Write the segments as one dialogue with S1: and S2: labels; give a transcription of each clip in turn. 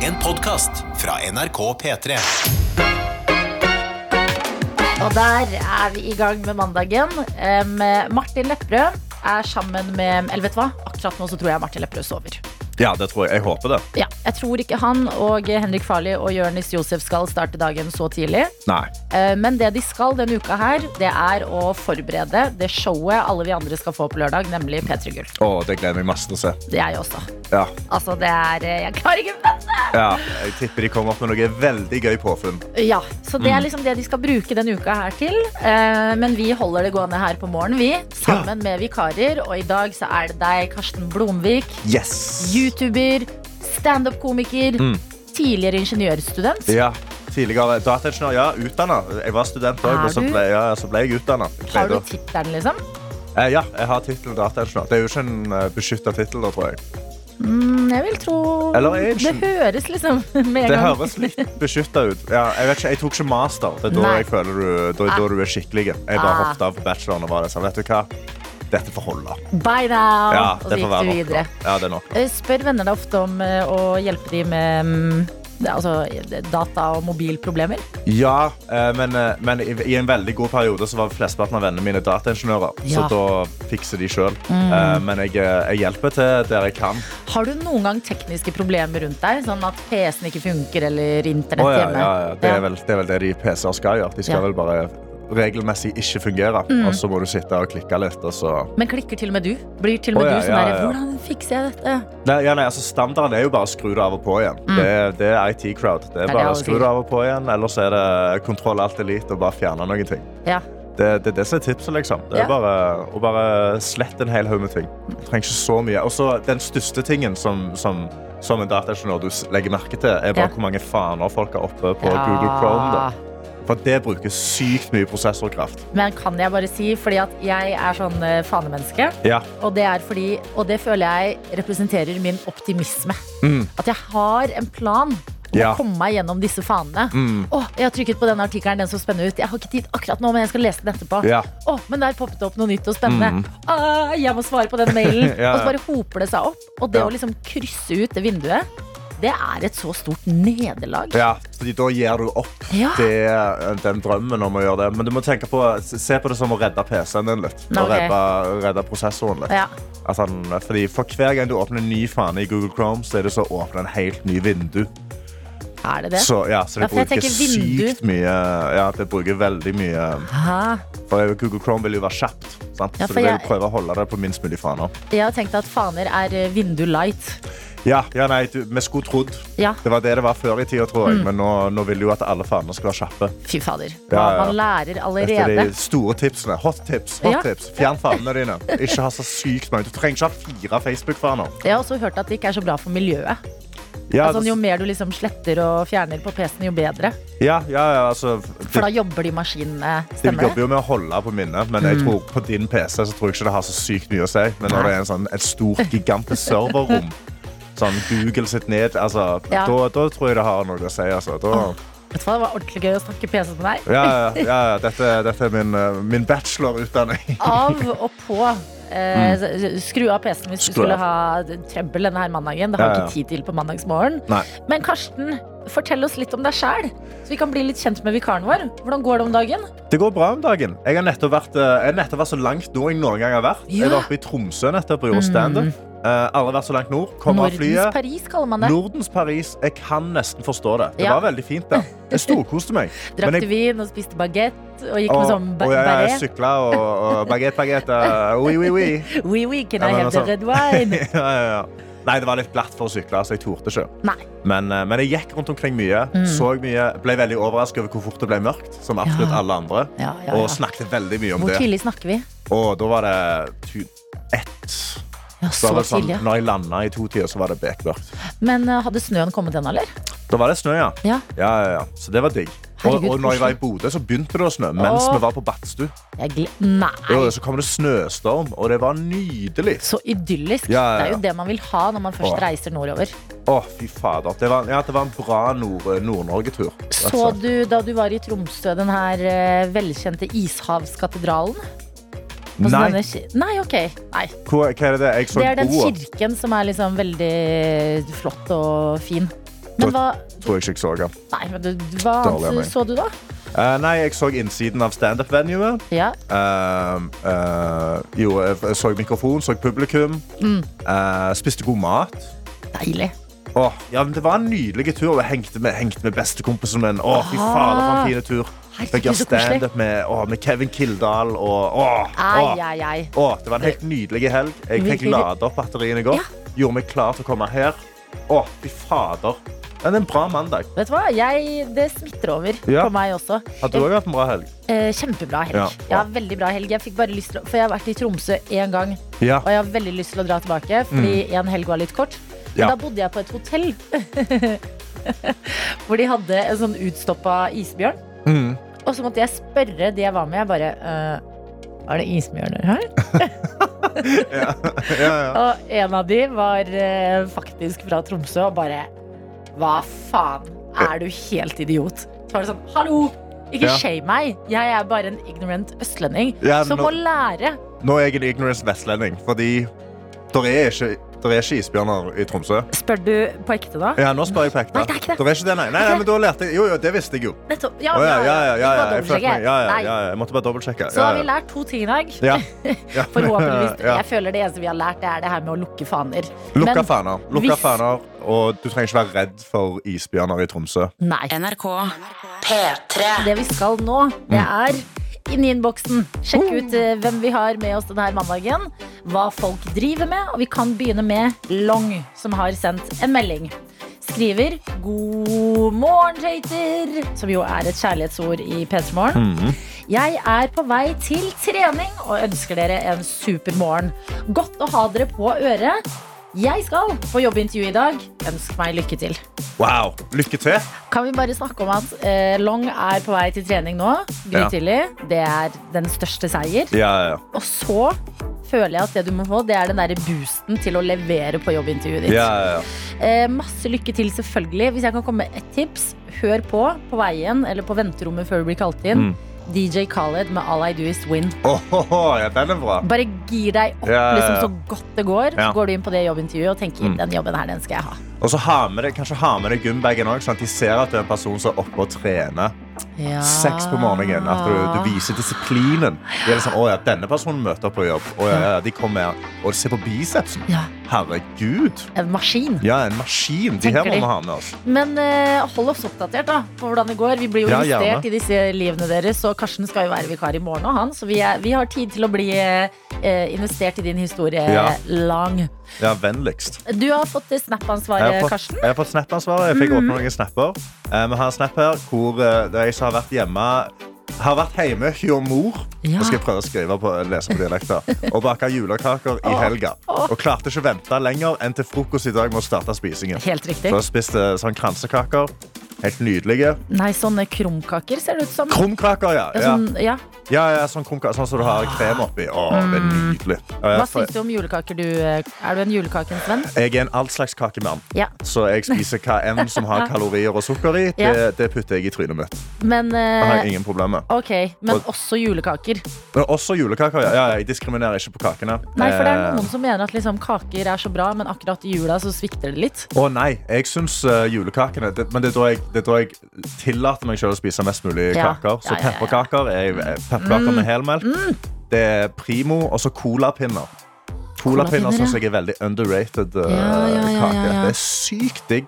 S1: En podkast fra NRK P3.
S2: Og der er vi i gang med mandagen. Um, Martin Lepperød er sammen med Eller vet du hva? Akkurat nå så tror jeg Martin Lepperød sover.
S3: Ja, det tror jeg. Jeg håper det.
S2: Ja, jeg tror ikke han og Henrik Farli og Jonis Josef skal starte dagen så tidlig.
S3: Nei.
S2: Eh, Men det de skal denne uka her, det er å forberede det showet alle vi andre skal få på lørdag, nemlig P3 Gull.
S3: Å, det gleder jeg meg masse til å se.
S2: Det er jeg også.
S3: Ja,
S2: Altså, det er eh, Jeg klarer ikke å vente!
S3: ja. Jeg tipper de kommer opp med noe veldig gøy påfunn.
S2: Ja, så
S3: Mm.
S2: det er liksom det de skal bruke denne uka her til. Eh, Men vi holder det gående her på morgenen, vi. Sammen med vikarer. Og i dag så er det deg, Karsten Blomvik.
S3: Yes!
S2: YouTuber, standup-komiker, tidligere ingeniørstudent.
S3: Mm. Ja, tidligere dataingeniør. Ja, utdanna. Jeg var student
S2: Er
S3: òg, og så
S2: du?
S3: ble, ja, så ble jeg utdanna.
S2: Har du tittelen, liksom?
S3: Eh, ja, jeg har tittelen dataingeniør. Det er jo ikke en eh, beskytta tittel, da, tror jeg.
S2: Mm, jeg vil tro
S3: Eller
S2: Det
S3: agent.
S2: høres liksom med en
S3: Det
S2: gang.
S3: høres litt beskytta ut. Ja, jeg, vet ikke, jeg tok ikke master. Det er da
S2: Nei.
S3: jeg føler du, da, da du er skikkelig. Jeg bare
S2: Ah.
S3: hoppet av på bacheloren og var sånn, vet du hva? Dette får holde.
S2: Bye now!
S3: Ja,
S2: Ah, og så
S3: det får
S2: gikk du
S3: være nok.
S2: videre.
S3: nå. Ja, det er nok. nå.
S2: Eh, Spør venner deg ofte om eh, å hjelpe dem med mm, det- altså, data- og mobilproblemer.
S3: Ja, eh, men, eh, men i i en veldig god periode så var flesteparten av vennene mine dataingeniører.
S2: Ja. Mm.
S3: Så da fikser de sjøl. Men jeg, eh, jeg hjelper til der jeg kan.
S2: Har du noen gang tekniske problemer rundt deg? Sånn at PC-en ikke funker, eller internett
S3: Å, ja,
S2: hjemme?
S3: ja, ja. Det,
S2: Ja.
S3: er vel, det er vel det de PC-er skal gjøre. De skal
S2: Ja. Mm.
S3: vel bare regelmessig ikke fungere. Og så må du sitte og klikke litt. Og så.
S2: Men klikker til og med du? Blir til og med
S3: Å, ja,
S2: du sånn
S3: ja,
S2: der,
S3: ja.
S2: Hvordan fikser jeg dette?
S3: Nei, ja, nei, altså standarden er jo bare å skru det av og på igjen. Det, det er IT-crowd. Det
S2: Mm. det
S3: er bare
S2: alle
S3: å skru
S2: sier.
S3: det av og på igjen, eller så er det kontroll alt elite og bare fjerne noen ting.
S2: Ja.
S3: Det, det, er det som er tipset, liksom. Det er
S2: Ja.
S3: bare å bare slette en hel haug med ting. Du trenger ikke så mye. Og så den største tingen som, som, som en dataingeniør du s- legger merke til, er
S2: Ja.
S3: bare hvor mange faner folk har oppe på
S2: Ja.
S3: Google Chrome. Da. For det bruker sykt mye prosessorkraft.
S2: Men kan jeg bare si, fordi at jeg er sånn eh, fanemenneske,
S3: Ja.
S2: og det er fordi, og det føler jeg representerer min optimisme.
S3: Mm.
S2: At jeg har en plan om
S3: Ja.
S2: å komme meg gjennom disse fanene.
S3: Mm.
S2: Åh, jeg har trykket på den artikkelen, den så spennende ut. Jeg har ikke tid akkurat nå, men jeg skal lese den etterpå.
S3: Ja. Mm.
S2: Åh, men der poppet det opp noe nytt og spennende. Ah, jeg må svare på den mailen.
S3: Ja, ja.
S2: Og så bare hoper det seg opp. Og det
S3: Ja.
S2: å liksom krysse ut det vinduet, det er et så stort nederlag.
S3: Ja, fordi da gir du opp
S2: Ja.
S3: det, den drømmen om å gjøre det. Men du må tenke på, se på det som å redde PC-en din litt.
S2: Nå,
S3: Og
S2: ok.
S3: redde, redde prosessoren litt.
S2: Ja.
S3: At han, fordi for hver gang du åpner en ny fane i Google Chrome, så er det så å åpne en helt ny vindu.
S2: Er det det?
S3: Så, ja, så
S2: Ja,
S3: det
S2: for jeg
S3: bruker
S2: tenker vindu.
S3: sykt mye Ja, det bruker veldig mye
S2: Hæ?
S3: For Google Chrome vil jo være kjapt, sant?
S2: Ja,
S3: så
S2: for
S3: du vil
S2: jeg-
S3: jo prøve å holde det på minst mulig faner.
S2: Jeg har tenkt at faner er eh, vindu light.
S3: Ja, ja nei, du, vi skulle trodd.
S2: Ja. Mm.
S3: Det var det det var før i tida, tror jeg. Men nå, nå vil jo at alle faner skal være kjappe.
S2: Fy fader. Hva
S3: Ja, ja.
S2: man lærer
S3: Dette er
S2: allerede.
S3: de store tipsene. Hot tips. hot
S2: Ja.
S3: tips. Fjern fanene dine. Ikke ha så sykt mange. Du trenger ikke ha fire Facebook-faner.
S2: Jeg har også hørt at det ikke er så bra for miljøet.
S3: Ja,
S2: altså, jo mer du liksom sletter og fjerner på PC-en, jo bedre.
S3: ja, ja, ja, altså,
S2: For da jobber de maskinene.
S3: De
S2: Stemmer det?
S3: jobber
S2: Mm.
S3: jo med å holde på minnet, men jeg tror på din PC så tror jeg ikke det har så sykt mye å si. Men når det er en sånn, et stort, gigantisk serverrom, sånn Google sitt ned, altså,
S2: Ja.
S3: da, da tror jeg det har noe å si. Altså. Da,
S2: Vet du hva, Det var ordentlig gøy å snakke PC med deg.
S3: ja, ja, ja, ja, dette, dette er min, eh, min bachelorutdanning.
S2: Av og på. Eh, s- Skru av PC-en hvis du
S3: Mm. Skru
S2: skulle
S3: av.
S2: ha trøbbel denne her mandagen. Det har vi
S3: Ja, ja.
S2: ikke tid til på mandagsmorgen.
S3: Nei.
S2: Men Karsten, fortell oss litt om deg sjæl, så vi kan bli litt kjent med vikaren vår. Hvordan går det om dagen?
S3: Det går bra om dagen. Jeg har nettopp vært, eh, jeg har nettopp vært så langt nord jeg noen gang har vært.
S2: Ja. Mm.
S3: Jeg var oppe i Tromsø nettopp og gjorde standup. Eh, Alle har vært så langt nord. Kom av
S2: Nordens
S3: flyet.
S2: Paris, kaller man det.
S3: Nordens Paris. Jeg kan nesten forstå det. Det
S2: Ja.
S3: var veldig fint der. Jeg storkoste meg. Men
S2: Drakk
S3: jeg-
S2: du vin og spiste bagett og gikk med
S3: Og,
S2: sånn ba
S3: og jeg, jeg
S2: barret.
S3: sykla og, og baguette, baguette. uh, Oui, oui, oui.
S2: Oui, oui, can
S3: Ja,
S2: I
S3: men
S2: have the
S3: altså-
S2: red wine?
S3: ja, ja, ja. Nei, det var litt glatt for å sykle, så jeg torde ikke.
S2: Nei.
S3: Men, eh, men jeg gikk rundt omkring mye,
S2: Mm.
S3: så mye, ble veldig overrasket over hvor fort det ble mørkt, som absolutt
S2: Ja.
S3: alle andre,
S2: Ja, ja,
S3: og
S2: ja.
S3: snakket veldig mye om
S2: Hvor
S3: det.
S2: tidlig snakker vi?
S3: Og da var det tu- ett.
S2: Ja,
S3: Så
S2: så
S3: var det sånn,
S2: tidlig. ja.
S3: når jeg landa i to-tida, så var det bekmørkt.
S2: Men eh, hadde snøen kommet ennå, eller?
S3: Da var det snø, ja.
S2: Ja.
S3: Ja, ja, ja. Så det var digg. Og,
S2: Herregud,
S3: og når jeg var i
S2: koselig.
S3: Bodø, så begynte det å snø mens
S2: Åh.
S3: vi var på Badstue.
S2: Jeg gle-
S3: Jo,
S2: Nei,
S3: Så kom det snøstorm, og det var nydelig.
S2: så idyllisk.
S3: Ja, ja,
S2: Det er
S3: ja.
S2: jo det man vil ha når man først
S3: Åh.
S2: reiser nordover.
S3: Å, fy fader. Det var, ja, det var en bra Nord- Nord-Norge-tur. Altså. rett og
S2: Så
S3: slett.
S2: du da du var i Tromsø, den her eh, velkjente Ishavskatedralen? Altså
S3: Nei,
S2: denne ki- Nei, ok. Nei.
S3: hvor, hva er det? Jeg så
S2: Det er den
S3: broa.
S2: kirken som er liksom veldig flott og fin. Men hva
S3: Tror jeg ikke jeg så den.
S2: Nei, men du, hva
S3: Dårlig av meg.
S2: annet så du, da?
S3: Eh, nei, jeg så innsiden av standup-venuet.
S2: Ja.
S3: Ehm, eh, jo, jeg jeg så mikrofon, så publikum.
S2: Mm.
S3: Eh, spiste god mat.
S2: Deilig.
S3: Åh, ja, men det var en nydelig tur. og Jeg hengte med, hengte med bestekompisen min. Åh, fy fader, for en fin tur.
S2: Herregud,
S3: Fikk gjøre
S2: så koselig.
S3: standup med, åh, med Kevin Kildahl. Og, åh,
S2: Ai,
S3: åh.
S2: ai, ai.
S3: Åh, det var en helt nydelig helg. Jeg fikk
S2: Virkelig.
S3: lade opp batteriene i går. Gjorde meg klar til å komme her. Åh, fy fader. Men en bra mandag.
S2: Vet du hva? Jeg, det smitter over
S3: Ja.
S2: på meg også.
S3: Har du òg hatt en bra helg?
S2: Eh, kjempebra helg.
S3: Ja,
S2: Ja,
S3: bra.
S2: veldig bra helg. Jeg fikk bare lyst til å, For jeg har vært i Tromsø én gang,
S3: Ja.
S2: og jeg har veldig lyst til å dra tilbake, fordi en helg var litt kort. Men
S3: Mm. Ja.
S2: da bodde jeg på et hotell hvor de hadde en sånn utstoppa isbjørn.
S3: Mm.
S2: Og så måtte jeg spørre de jeg var med, jeg bare eh, Er det isbjørner her?
S3: ja, ja.
S2: Og en av de var eh, faktisk fra Tromsø og bare Hva faen? Er du helt idiot? Så var det sånn, hallo! Ikke
S3: Ja.
S2: shame meg. Jeg er bare en ignorant østlending
S3: Ja,
S2: som
S3: nå-
S2: må lære.
S3: Nå er jeg en ignorance vestlending, fordi der er ikke, der er ikke isbjørner i Tromsø.
S2: Spør du på ekte, da?
S3: Ja, nå spør jeg på ekte.
S2: Nei, det er ikke det.
S3: Der er ikke det, nei. Nei, nei, men da lærte jeg. Jo, jo, det visste jeg jo.
S2: Nettopp.
S3: Å, ja, ja, ja, ja, ja,
S2: Vi må
S3: jeg følte meg- ja,
S2: dobbeltsjekke.
S3: ja, ja,
S2: Nei.
S3: ja, jeg måtte bare dobbeltsjekke.
S2: Så har vi
S3: Ja,
S2: lært to ting i dag.
S3: ja. Ja.
S2: Forhåpentligvis.
S3: Ja.
S2: Jeg føler det eneste vi har lært, det er det her med å lukke faner.
S3: Lukka
S2: Men-
S3: faner. Lukka
S2: Hvis-
S3: faner. Og du trenger ikke være redd for isbjørner i Tromsø.
S2: Nei.
S4: NRK P3
S2: Det vi skal nå, det
S3: Mm.
S2: er inn i innboksen.
S3: Oh.
S2: Sjekk ut eh, hvem vi har med oss denne mandagen. Hva folk driver med. Og vi kan begynne med Long, som har sendt en melding. Skriver 'God morgen, Tater', som jo er et kjærlighetsord i P3 Morgen. Jeg er på vei til trening og ønsker dere en super morgen. Godt å ha dere på øret. Jeg skal på jobbintervju i dag. Ønsk meg lykke til.
S3: Wow! Lykke til.
S2: Kan vi bare snakke om at eh, Long er på vei til trening nå.
S3: Ja.
S2: Grytidlig. Det er den største seier.
S3: Ja, ja, ja.
S2: Og så føler jeg at det du må få, det er den derre boosten til å levere på jobbintervjuet ditt.
S3: ja, ja, ja.
S2: Eh, masse lykke til, selvfølgelig. Hvis jeg kan komme med ett tips, hør på på veien eller på venterommet før du blir kalt inn.
S3: Mm.
S2: DJ Khaled med All I Do Is Win.
S3: Åhåhå, ja, den er bra.
S2: Bare gir deg opp
S3: Ja, ja, ja.
S2: Liksom, så godt det går.
S3: Ja. Mm.
S2: Så går du inn på det jobbintervjuet og tenker den jobben her, den skal jeg ha.
S3: Og så ha med deg, kanskje ha med deg gymbagen òg, sånn at de ser at du er en person som er oppe og trener.
S2: Ja.
S3: Seks på morgenen. At du, du viser disiplinen. De er liksom, å, ja, denne personen møter opp på jobb. Å, ja, ja, de kommer her. Og se på bicepsen.
S2: Ja.
S3: Herregud.
S2: En maskin.
S3: Ja, en maskin. De her
S2: Tenker de.
S3: må vi ha med oss.
S2: Men eh, hold oss oppdatert da på hvordan det går. Vi blir jo
S3: Ja,
S2: investert
S3: gjerne.
S2: i disse livene deres, og Karsten skal jo være vikar i morgen òg, han. Så vi, er, vi har tid til å bli eh, eh, investert i din historie
S3: Ja.
S2: lang.
S3: Ja, vennligst.
S2: Du har fått eh,
S3: Jeg
S2: Snap-ansvaret,
S3: har fått,
S2: Karsten. Mm.
S3: jeg har fått Snap-ansvaret. Jeg fikk åpne noen snapper. Eh, Vi har en snap her hvor eh, det er jeg som har vært hjemme har vært hjemme hos jo mor.
S2: Ja.
S3: Nå skal jeg prøve å skrive på, lese på dialekt. her. Og baka julekaker i helga. Og klarte ikke å vente lenger enn til frokost i dag med å starte spisingen.
S2: Helt riktig.
S3: Så jeg spiste sånn kransekaker. Helt nydelige.
S2: Nei, sånne krumkaker ser det ut som.
S3: Krumkaker, ja.
S2: Ja,
S3: ja.
S2: sånn, ja.
S3: ja, ja sånn, krumkaker, sånn som du har krem oppi. Å, det er nydelig. Og
S2: Mm. Hva
S3: jeg-
S2: syns du om julekaker, du? eh, Er du en julekakens venn?
S3: Jeg er en all slags kakemann.
S2: Ja.
S3: Så jeg spiser hva enn som har kalorier og sukker i.
S2: Ja.
S3: Det, det putter jeg i trynet mitt.
S2: Men
S3: Det har
S2: eh,
S3: jeg ingen problemer med.
S2: Ok, men
S3: Og-
S2: også julekaker.
S3: Men også julekaker. Ja, ja, jeg diskriminerer ikke på kakene.
S2: Nei, for det er
S3: Eh,
S2: noen som mener at liksom, kaker er så bra, men akkurat i jula så svikter det litt.
S3: Å nei, jeg syns eh, julekakene det, Men det er da jeg, det er da jeg tillater meg selv å spise mest mulig
S2: Ja.
S3: kaker.
S2: Ja, Mm.
S3: Så
S2: ja, ja.
S3: pepperkaker er eh, pepperkaker med helmelk. Det er primo, og så colapinner.
S2: Colapinner,
S3: Colapinner
S2: ja.
S3: syns jeg er veldig underrated eh,
S2: Ja, ja, ja,
S3: kake.
S2: ja, ja.
S3: Det er sykt digg.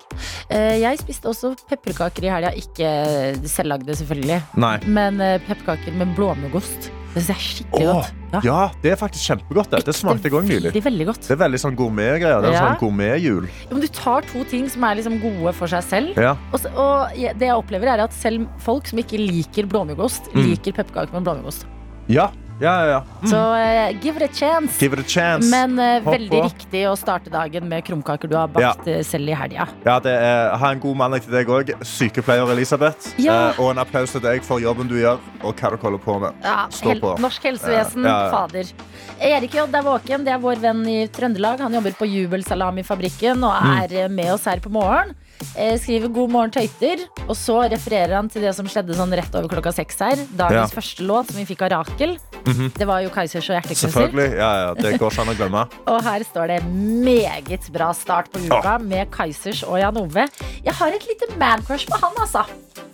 S2: Eh, Jeg spiste også pepperkaker i helga. Ikke selvlagde, selvfølgelig.
S3: Nei.
S2: Men eh, pepperkaker med blåmuggost. Det synes jeg er skikkelig
S3: Åh,
S2: godt.
S3: ja. det er faktisk kjempegodt. Det, det smakte jeg òg nylig.
S2: Veldig, veldig godt.
S3: Det er veldig sånn gourmetgreier. Det er
S2: Ja.
S3: sånn gourmetjul.
S2: Jo, men du tar to ting som er liksom gode for seg selv.
S3: Ja.
S2: Og, s- og jeg- det jeg opplever, er at selv folk som ikke liker blåmuggost, liker pepperkaker med blåmuggost.
S3: Ja. ja, ja, ja. Mm.
S2: Så eh, give it a chance.
S3: Give it a chance.
S2: Men eh,
S3: Hopp
S2: veldig
S3: på.
S2: riktig å starte dagen med krumkaker du har bakt eh, selv i helga.
S3: Ja, det er, ha en god mandag til deg òg, sykepleier Elisabeth.
S2: Ja.
S3: Eh, og en applaus til deg for jobben du gjør, og hva du holder på med.
S2: Ja,
S3: Stå
S2: hel
S3: på.
S2: norsk helsevesen,
S3: Ja, ja, ja.
S2: fader. Erik J. er våken,
S3: Mm.
S2: det er vår venn i Trøndelag. Han jobber på Jubelsalamifabrikken og er eh, med oss her på morgen. eh, skriver 'God morgen, tøyter', og så refererer han til det som skjedde sånn rett over klokka seks her. Dagens
S3: Ja. Mhm.
S2: første låt som vi fikk av Rakel. Det var jo Kaizers og hjerteknusser.
S3: Selvfølgelig. Ja, ja, det går ikke an å glemme.
S2: Og her står det 'meget bra start på uka' med Kaizers og Jan Ove. Jeg har et lite mancrush på han, altså.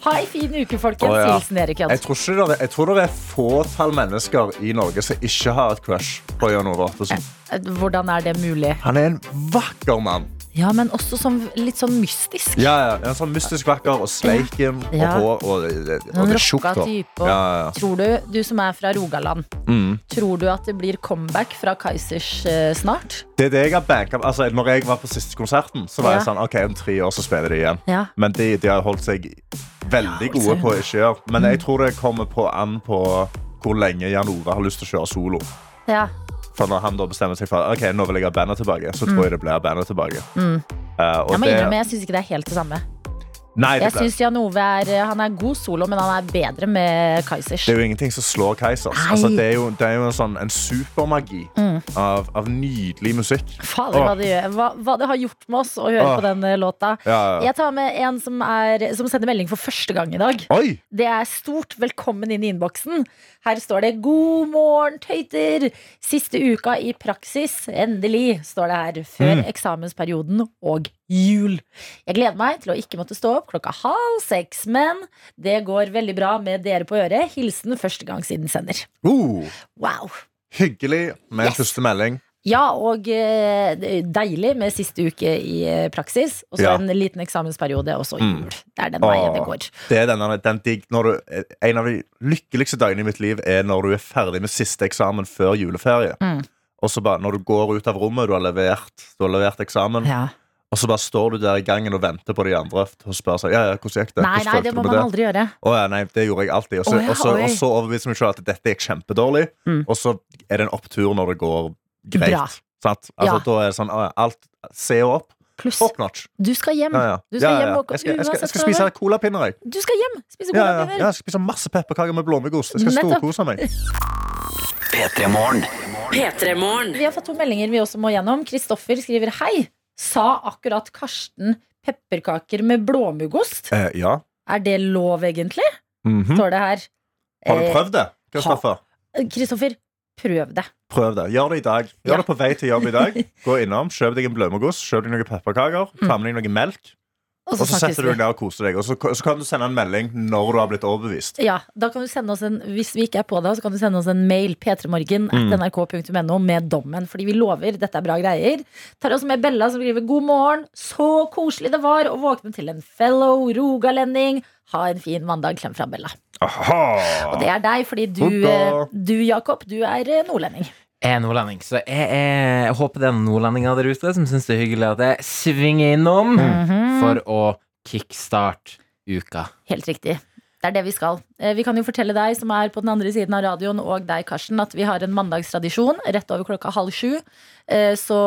S2: Ha ei fin uke, folkens.
S3: Å, ja.
S2: Hilsen Erik
S3: Jeg
S2: Jønsson.
S3: tror, ikke det, jeg tror det er fåtall mennesker i Norge som ikke har et crush på Jan Ove Ottesen.
S2: Eh, Hvordan er det mulig?
S3: Han er en vakker mann.
S2: Ja, men også som litt sånn mystisk.
S3: Ja, ja, en sånn mystisk vakker og sleiken og
S2: Ja.
S3: hår. Og, og, det- og
S2: Noen
S3: det er
S2: Sånn rocka
S3: tjukt hår.
S2: type. og-
S3: Ja, ja, Mm. ja.
S2: Tror du, du som er fra Rogaland, tror du at det blir comeback fra Kaizers eh, snart?
S3: Det er det jeg har banka altså, Når jeg var på siste konserten, Så var jeg
S2: Ja.
S3: sånn OK, om tre år så spiller de igjen.
S2: Ja.
S3: Men de, de har holdt seg veldig gode på å ikke gjøre. Men
S2: Mm.
S3: jeg tror det kommer på an på hvor lenge Jan Ove har lyst til å kjøre solo.
S2: Ja.
S3: For når han da bestemmer seg for Ok, nå vil jeg ha bandet tilbake, så
S2: Mm.
S3: tror jeg det blir bandet tilbake. Eh, og
S2: Jeg må
S3: det-
S2: innrømme, jeg syns ikke det er helt det samme.
S3: Nei,
S2: Jeg
S3: det, ble-
S2: synes Jan Ove er, eh, han er god solo, men han er bedre med Kaizers.
S3: det er jo ingenting som slår Keisers.
S2: Nei. Mm.
S3: Altså, det, er jo, det er jo en, sånn, en supermagi av, av nydelig musikk.
S2: Fader, hva det, gjør. Hva, hva det har gjort med oss å høre
S3: Åh.
S2: på den eh, låta.
S3: Ja, ja, ja.
S2: Jeg tar med en som, er, som sender melding for første gang i dag.
S3: Oi!
S2: Det er stort velkommen inn i innboksen. Her står det 'God morgen, tøyter'. Siste uka i praksis, endelig, står det her. Før
S3: Mm.
S2: eksamensperioden og jul. Jeg gleder meg til å ikke måtte stå opp klokka halv seks, men det går veldig bra med dere på øret. Hilsen førstegangsinnsender.
S3: Uh,
S2: Wow.
S3: hyggelig med
S2: Yes.
S3: første melding.
S2: Ja, og eh, det er deilig med siste uke i eh, praksis. Og så
S3: Ja. Mm.
S2: en liten eksamensperiode, og så jul. Det er den
S3: Åh.
S2: veien det går.
S3: Det er denne, den digg, når du, en av de lykkeligste dagene i mitt liv er når du er ferdig med siste eksamen før juleferie.
S2: Mm.
S3: Og så bare, når du går ut av rommet, du har levert, du har levert eksamen,
S2: Ja.
S3: og så bare står du der i gangen og venter på de andre og spør seg, ja, ja, hvordan gikk det?
S2: Nei,
S3: Hvordan
S2: nei,
S3: følte
S2: det
S3: du
S2: må
S3: med
S2: man aldri gjøre.
S3: Å ja, nei, det gjorde jeg alltid. Og så,
S2: Å ja,
S3: og så,
S2: oi.
S3: og så overbeviser meg selv at dette er kjempedårlig,
S2: Mm.
S3: og så er det en opptur når det går greit.
S2: Bra.
S3: Sant? Altså,
S2: Ja.
S3: Da er det sånn, å ja, alt, se opp,
S2: Pluss,
S3: top notch.
S2: du skal hjem.
S3: Ja, ja.
S2: Mm. Du skal
S3: ja, ja,
S2: hjem
S3: ja.
S2: og-
S3: Jeg skal, jeg skal, jeg
S2: uansett
S3: skal
S2: hva det
S3: spise colapinner, jeg.
S2: Du skal hjem! Spise
S3: Ja,
S2: gode
S3: ja, ja,
S2: pinner.
S3: jeg skal spise masse pepperkaker med blåmuggost. Jeg skal
S2: Nettopp.
S3: storkose meg.
S1: P3-morgen.
S4: P3-morgen.
S2: Vi har fått to meldinger vi også må gjennom. Kristoffer skriver hei. Sa akkurat Karsten pepperkaker med blåmuggost.
S3: Eh, ja.
S2: Er det lov, egentlig?
S3: Mhm.
S2: Står det her.
S3: Har du
S2: Eh,
S3: prøvd det? Kristoffer?
S2: Kristoffer, prøv det.
S3: Prøv det. Gjør det i dag.
S2: Ja.
S3: Gjør det på vei til jobb i dag. Gå innom, kjøp deg en blømmegost, kjøp deg noen pepperkaker, ta med deg noe melk,
S2: Og
S3: Mm. og så
S2: snakkes
S3: setter du
S2: vi.
S3: deg der og koser deg. Og så, så kan du sende en melding når du har blitt overbevist.
S2: Ja, da kan du sende oss en, Hvis vi ikke er på det, så kan du sende oss en mail p3morgen nrk.no med dommen. Fordi vi lover, dette er bra greier. Tar også med Bella som skriver 'God morgen'. Så koselig det var å våkne til en fellow rogalending. Ha en fin mandag. Klem fra Bella. Og det
S3: Aha!
S2: er deg, fordi du, eh,
S3: Hurra.
S2: du Jakob, du er eh, nordlending.
S5: Jeg er nordlending, så jeg, er, jeg håper det er noen nordlendinger der ute som syns det er hyggelig at jeg svinger innom
S3: Mm.
S2: Mhm.
S5: for å kickstart uka.
S2: Helt riktig. Det er det vi skal. Eh, Vi kan jo fortelle deg som er på den andre siden av radioen, og deg, Karsten, at vi har en mandagstradisjon rett over klokka halv sju. Eh, Så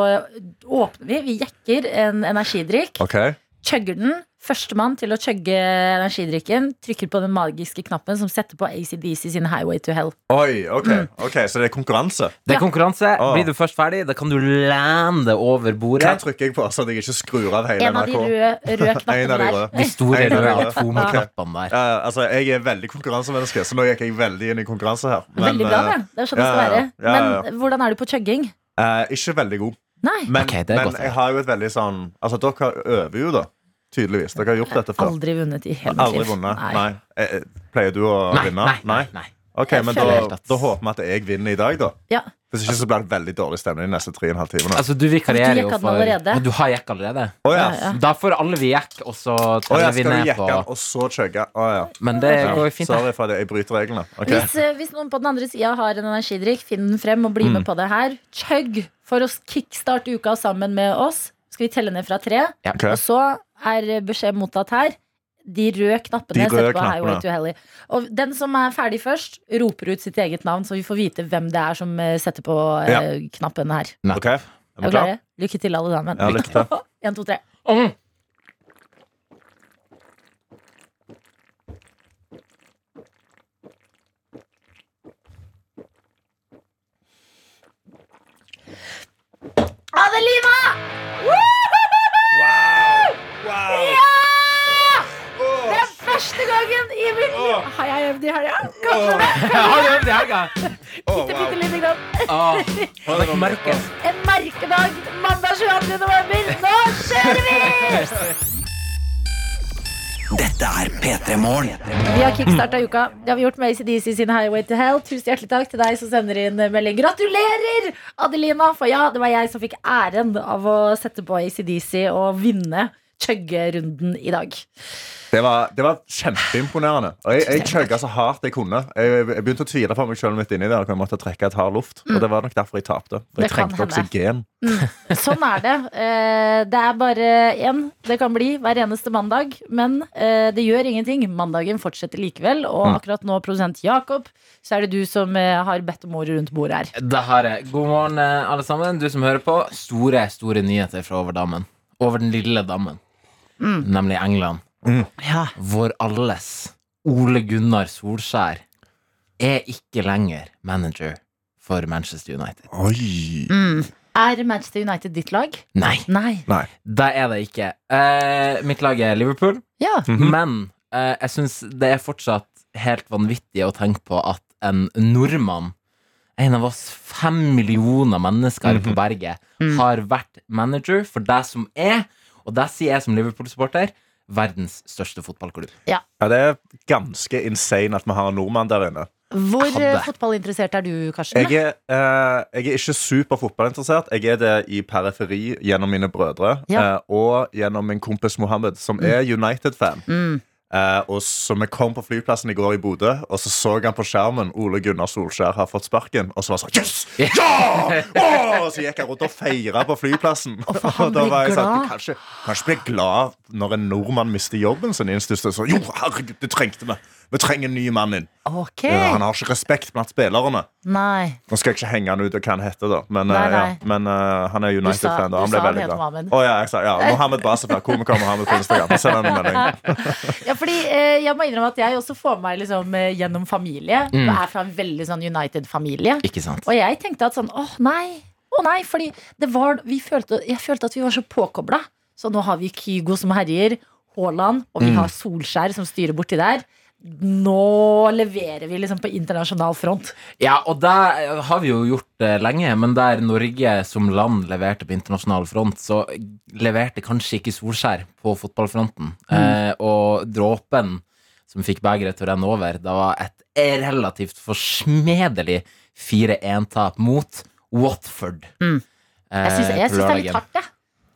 S2: åpner vi. Vi jekker en energidrikk,
S3: Ok.
S2: chugger den. Førstemann til å chugge energidrikken trykker på den magiske knappen som setter på ACDC sin Highway to Hell.
S3: Oi, ok, Mm. ok, Så det er konkurranse?
S5: Det er
S2: Ja.
S5: konkurranse.
S3: Åh.
S5: Blir du først ferdig, da kan du lene deg over
S3: Hva
S5: bordet.
S3: trykker jeg på, sånn at jeg ikke skrur av hele
S2: En av de
S3: NRK?
S2: røde, røde
S3: En av de
S2: knappene der.
S3: røde.
S5: De store
S3: Jeg er
S5: røde
S3: det. Ja.
S5: tomeknappene der.
S3: Ja, ja, altså, jeg er veldig konkurransemenneske, så nå gikk jeg veldig inn i konkurranse her. Men,
S2: Veldig bra, det.
S3: eh,
S2: Det er sånn det skal
S3: ja, ja,
S2: være.
S3: ja, ja, ja.
S2: Men hvordan er du på chugging?
S3: eh, ikke veldig god.
S2: Nei,
S3: Men,
S5: Ok, det er
S3: men
S5: godt å
S3: jeg
S5: høre.
S3: har jo et veldig sånn Altså, dere øver jo, da. Tydeligvis. Dere har gjort dette før.
S2: aldri vunnet i hele mitt liv.
S3: Aldri vunnet.
S2: Nei.
S3: Nei. Eh, eh, Pleier du å
S5: Nei,
S3: vinne?
S5: nei, nei, nei.
S3: Ok,
S2: Jeg
S3: men da,
S2: føler
S5: at-
S3: da håper vi at jeg vinner i dag, da.
S2: Ja.
S3: Hvis ikke så blir det veldig dårlig stemning de neste tre og en halv timene.
S5: Altså, du
S2: Du
S5: vikarierer
S2: jekka
S5: jo
S2: den
S5: for
S2: allerede.
S5: Å, Du har jekk allerede?
S3: Å ja.
S2: Ja, ja.
S5: Da får alle vi jekk, og så
S3: Å ja,
S5: teller vi
S3: skal du
S5: ned
S3: jekke
S5: på
S3: den og så chugge? Å ja.
S5: Men det
S3: ja.
S5: går jo fint.
S3: Sorry for at jeg bryter reglene. Ok.
S2: Hvis, eh, hvis noen på den andre sida har en energidrikk, finn den frem og bli
S3: Mm.
S2: med på det her. Chug for å kickstarte uka sammen med oss. Skal vi telle ned fra tre?
S5: Ja.
S3: Ok.
S2: Og så er beskjed mottatt her. De røde knappene.
S3: De
S2: jeg setter
S3: røde
S2: på Highway
S3: knappene.
S2: to Hell i. Og den som er ferdig først, roper ut sitt eget navn, så vi får vite hvem det er som eh, setter på eh,
S3: Ja.
S2: knappen her.
S3: Ok, Er
S2: Er
S3: vi
S2: vi klare?
S3: klare?
S2: Lykke til, alle sammen.
S3: Ja, lykke til.
S2: En, to, tre.
S5: Mm.
S2: Adelina!
S3: Wow! wow.
S2: driver! Har jeg øvd i helga? Kanskje det.
S5: Har du øvd i helga?
S3: Å,
S2: Bitte,
S3: wow.
S2: bitte lite grann.
S5: Åh, det merkes.
S2: En merkedag mandag 22. november. Nå kjører vi!
S1: Dette er P3 Morgen.
S2: Vi har kickstarta uka. Det har vi gjort med ACDC sin Highway to Hell. Tusen hjertelig takk til deg som sender inn melding. Gratulerer, Adelina! For ja, det var jeg som fikk æren av å sette på ACDC og vinne chuggerunden i dag.
S3: Det var, det var kjempeimponerende. Og jeg, jeg chugga så hardt jeg kunne. Jeg, jeg begynte å tvile på meg sjøl midt inni der. og Jeg måtte trekke et hard luft. Og det var nok derfor jeg tapte. For
S2: Det
S3: jeg
S2: kan
S3: trengte
S2: hende.
S3: oksygen.
S2: Sånn er det. Eh, Det er bare én det kan bli hver eneste mandag. Men eh, det gjør ingenting. Mandagen fortsetter likevel. Og
S3: Mm.
S2: akkurat nå, produsent Jakob, så er det du som eh, har bedt om ordet rundt bordet her.
S5: Det har jeg. God morgen, eh, alle sammen. Du som hører på. Store, store nyheter fra over dammen. Over den lille dammen. Nemlig England. Vår alles Ole Gunnar Solskjær er ikke lenger manager for Manchester United.
S3: Oi.
S2: Er Manchester United ditt lag?
S5: Nei,
S2: Mm. Nei.
S3: Nei.
S5: det er det ikke. Eh, mitt lag er Liverpool.
S2: Ja.
S3: Mm.
S5: Men eh, jeg syns det er fortsatt helt vanvittig å tenke på at en nordmann, en av oss fem millioner mennesker på berget, har vært manager for det som er, og det sier jeg som Liverpool-supporter, verdens største fotballklubb.
S3: Ja, det er ganske insane at vi har en nordmann der inne.
S2: Hvor eh,
S5: Hadde.
S2: fotballinteressert er du, Karsten?
S3: Jeg er, eh, jeg er ikke super fotballinteressert. Jeg er det i periferi gjennom mine brødre
S2: Ja. Mm.
S3: eh, og gjennom min kompis Mohammed, som er United-fan. Eh, og så Vi kom på flyplassen i går i Bodø, og så så han på skjermen Ole Gunnar Solskjær har fått sparken. Og så var han sånn Yes! Ja! Åh! Og så gikk han rundt og feira på flyplassen.
S2: for han blir glad.
S3: du kan ikke, kan ikke bli glad når en nordmann mister jobben sin i den største så, Jo, herregud, det trengte vi! Vi trenger en ny mann inn.
S2: Ok.
S3: Ja, han har ikke respekt blant spillerne.
S2: Nei.
S3: Nå skal jeg ikke henge han ut og hva han heter, da. Men,
S2: Nei,
S3: eh,
S2: nei.
S3: Ja, men eh, han er United-fan.
S2: Du sa-
S3: da.
S2: du
S3: Han ble
S2: sa han
S3: veldig
S2: het
S3: glad.
S2: Mohammed.
S3: Å, ja, jeg sa, ja, Mohammed Basefar. Komiker Mohammed på Instagram. Send han en melding.
S2: Ja, fordi eh, Jeg må innrømme at jeg også får meg liksom, eh, gjennom familie.
S3: Mm.
S2: Jeg er fra en veldig sånn United-familie.
S5: Ikke sant?
S2: Og jeg tenkte at sånn, åh nei, åh nei, fordi det var, vi følte, jeg følte at vi var så påkoblet. Så nå har vi Kygo som herjer, Haaland, og
S3: Mm.
S2: vi har Solskjær som styrer borti der. Nå leverer vi liksom på internasjonal front.
S5: Ja, og det har vi jo gjort eh, lenge, men der Norge som land leverte på internasjonal front, så leverte kanskje ikke Solskjær på fotballfronten. Eh, og dråpen som fikk begeret til å renne over, det var et relativt forsmedelig 4-1-tap mot Watford.
S2: Jeg
S3: Eh,
S2: synes, jeg synes det er litt hardt, det.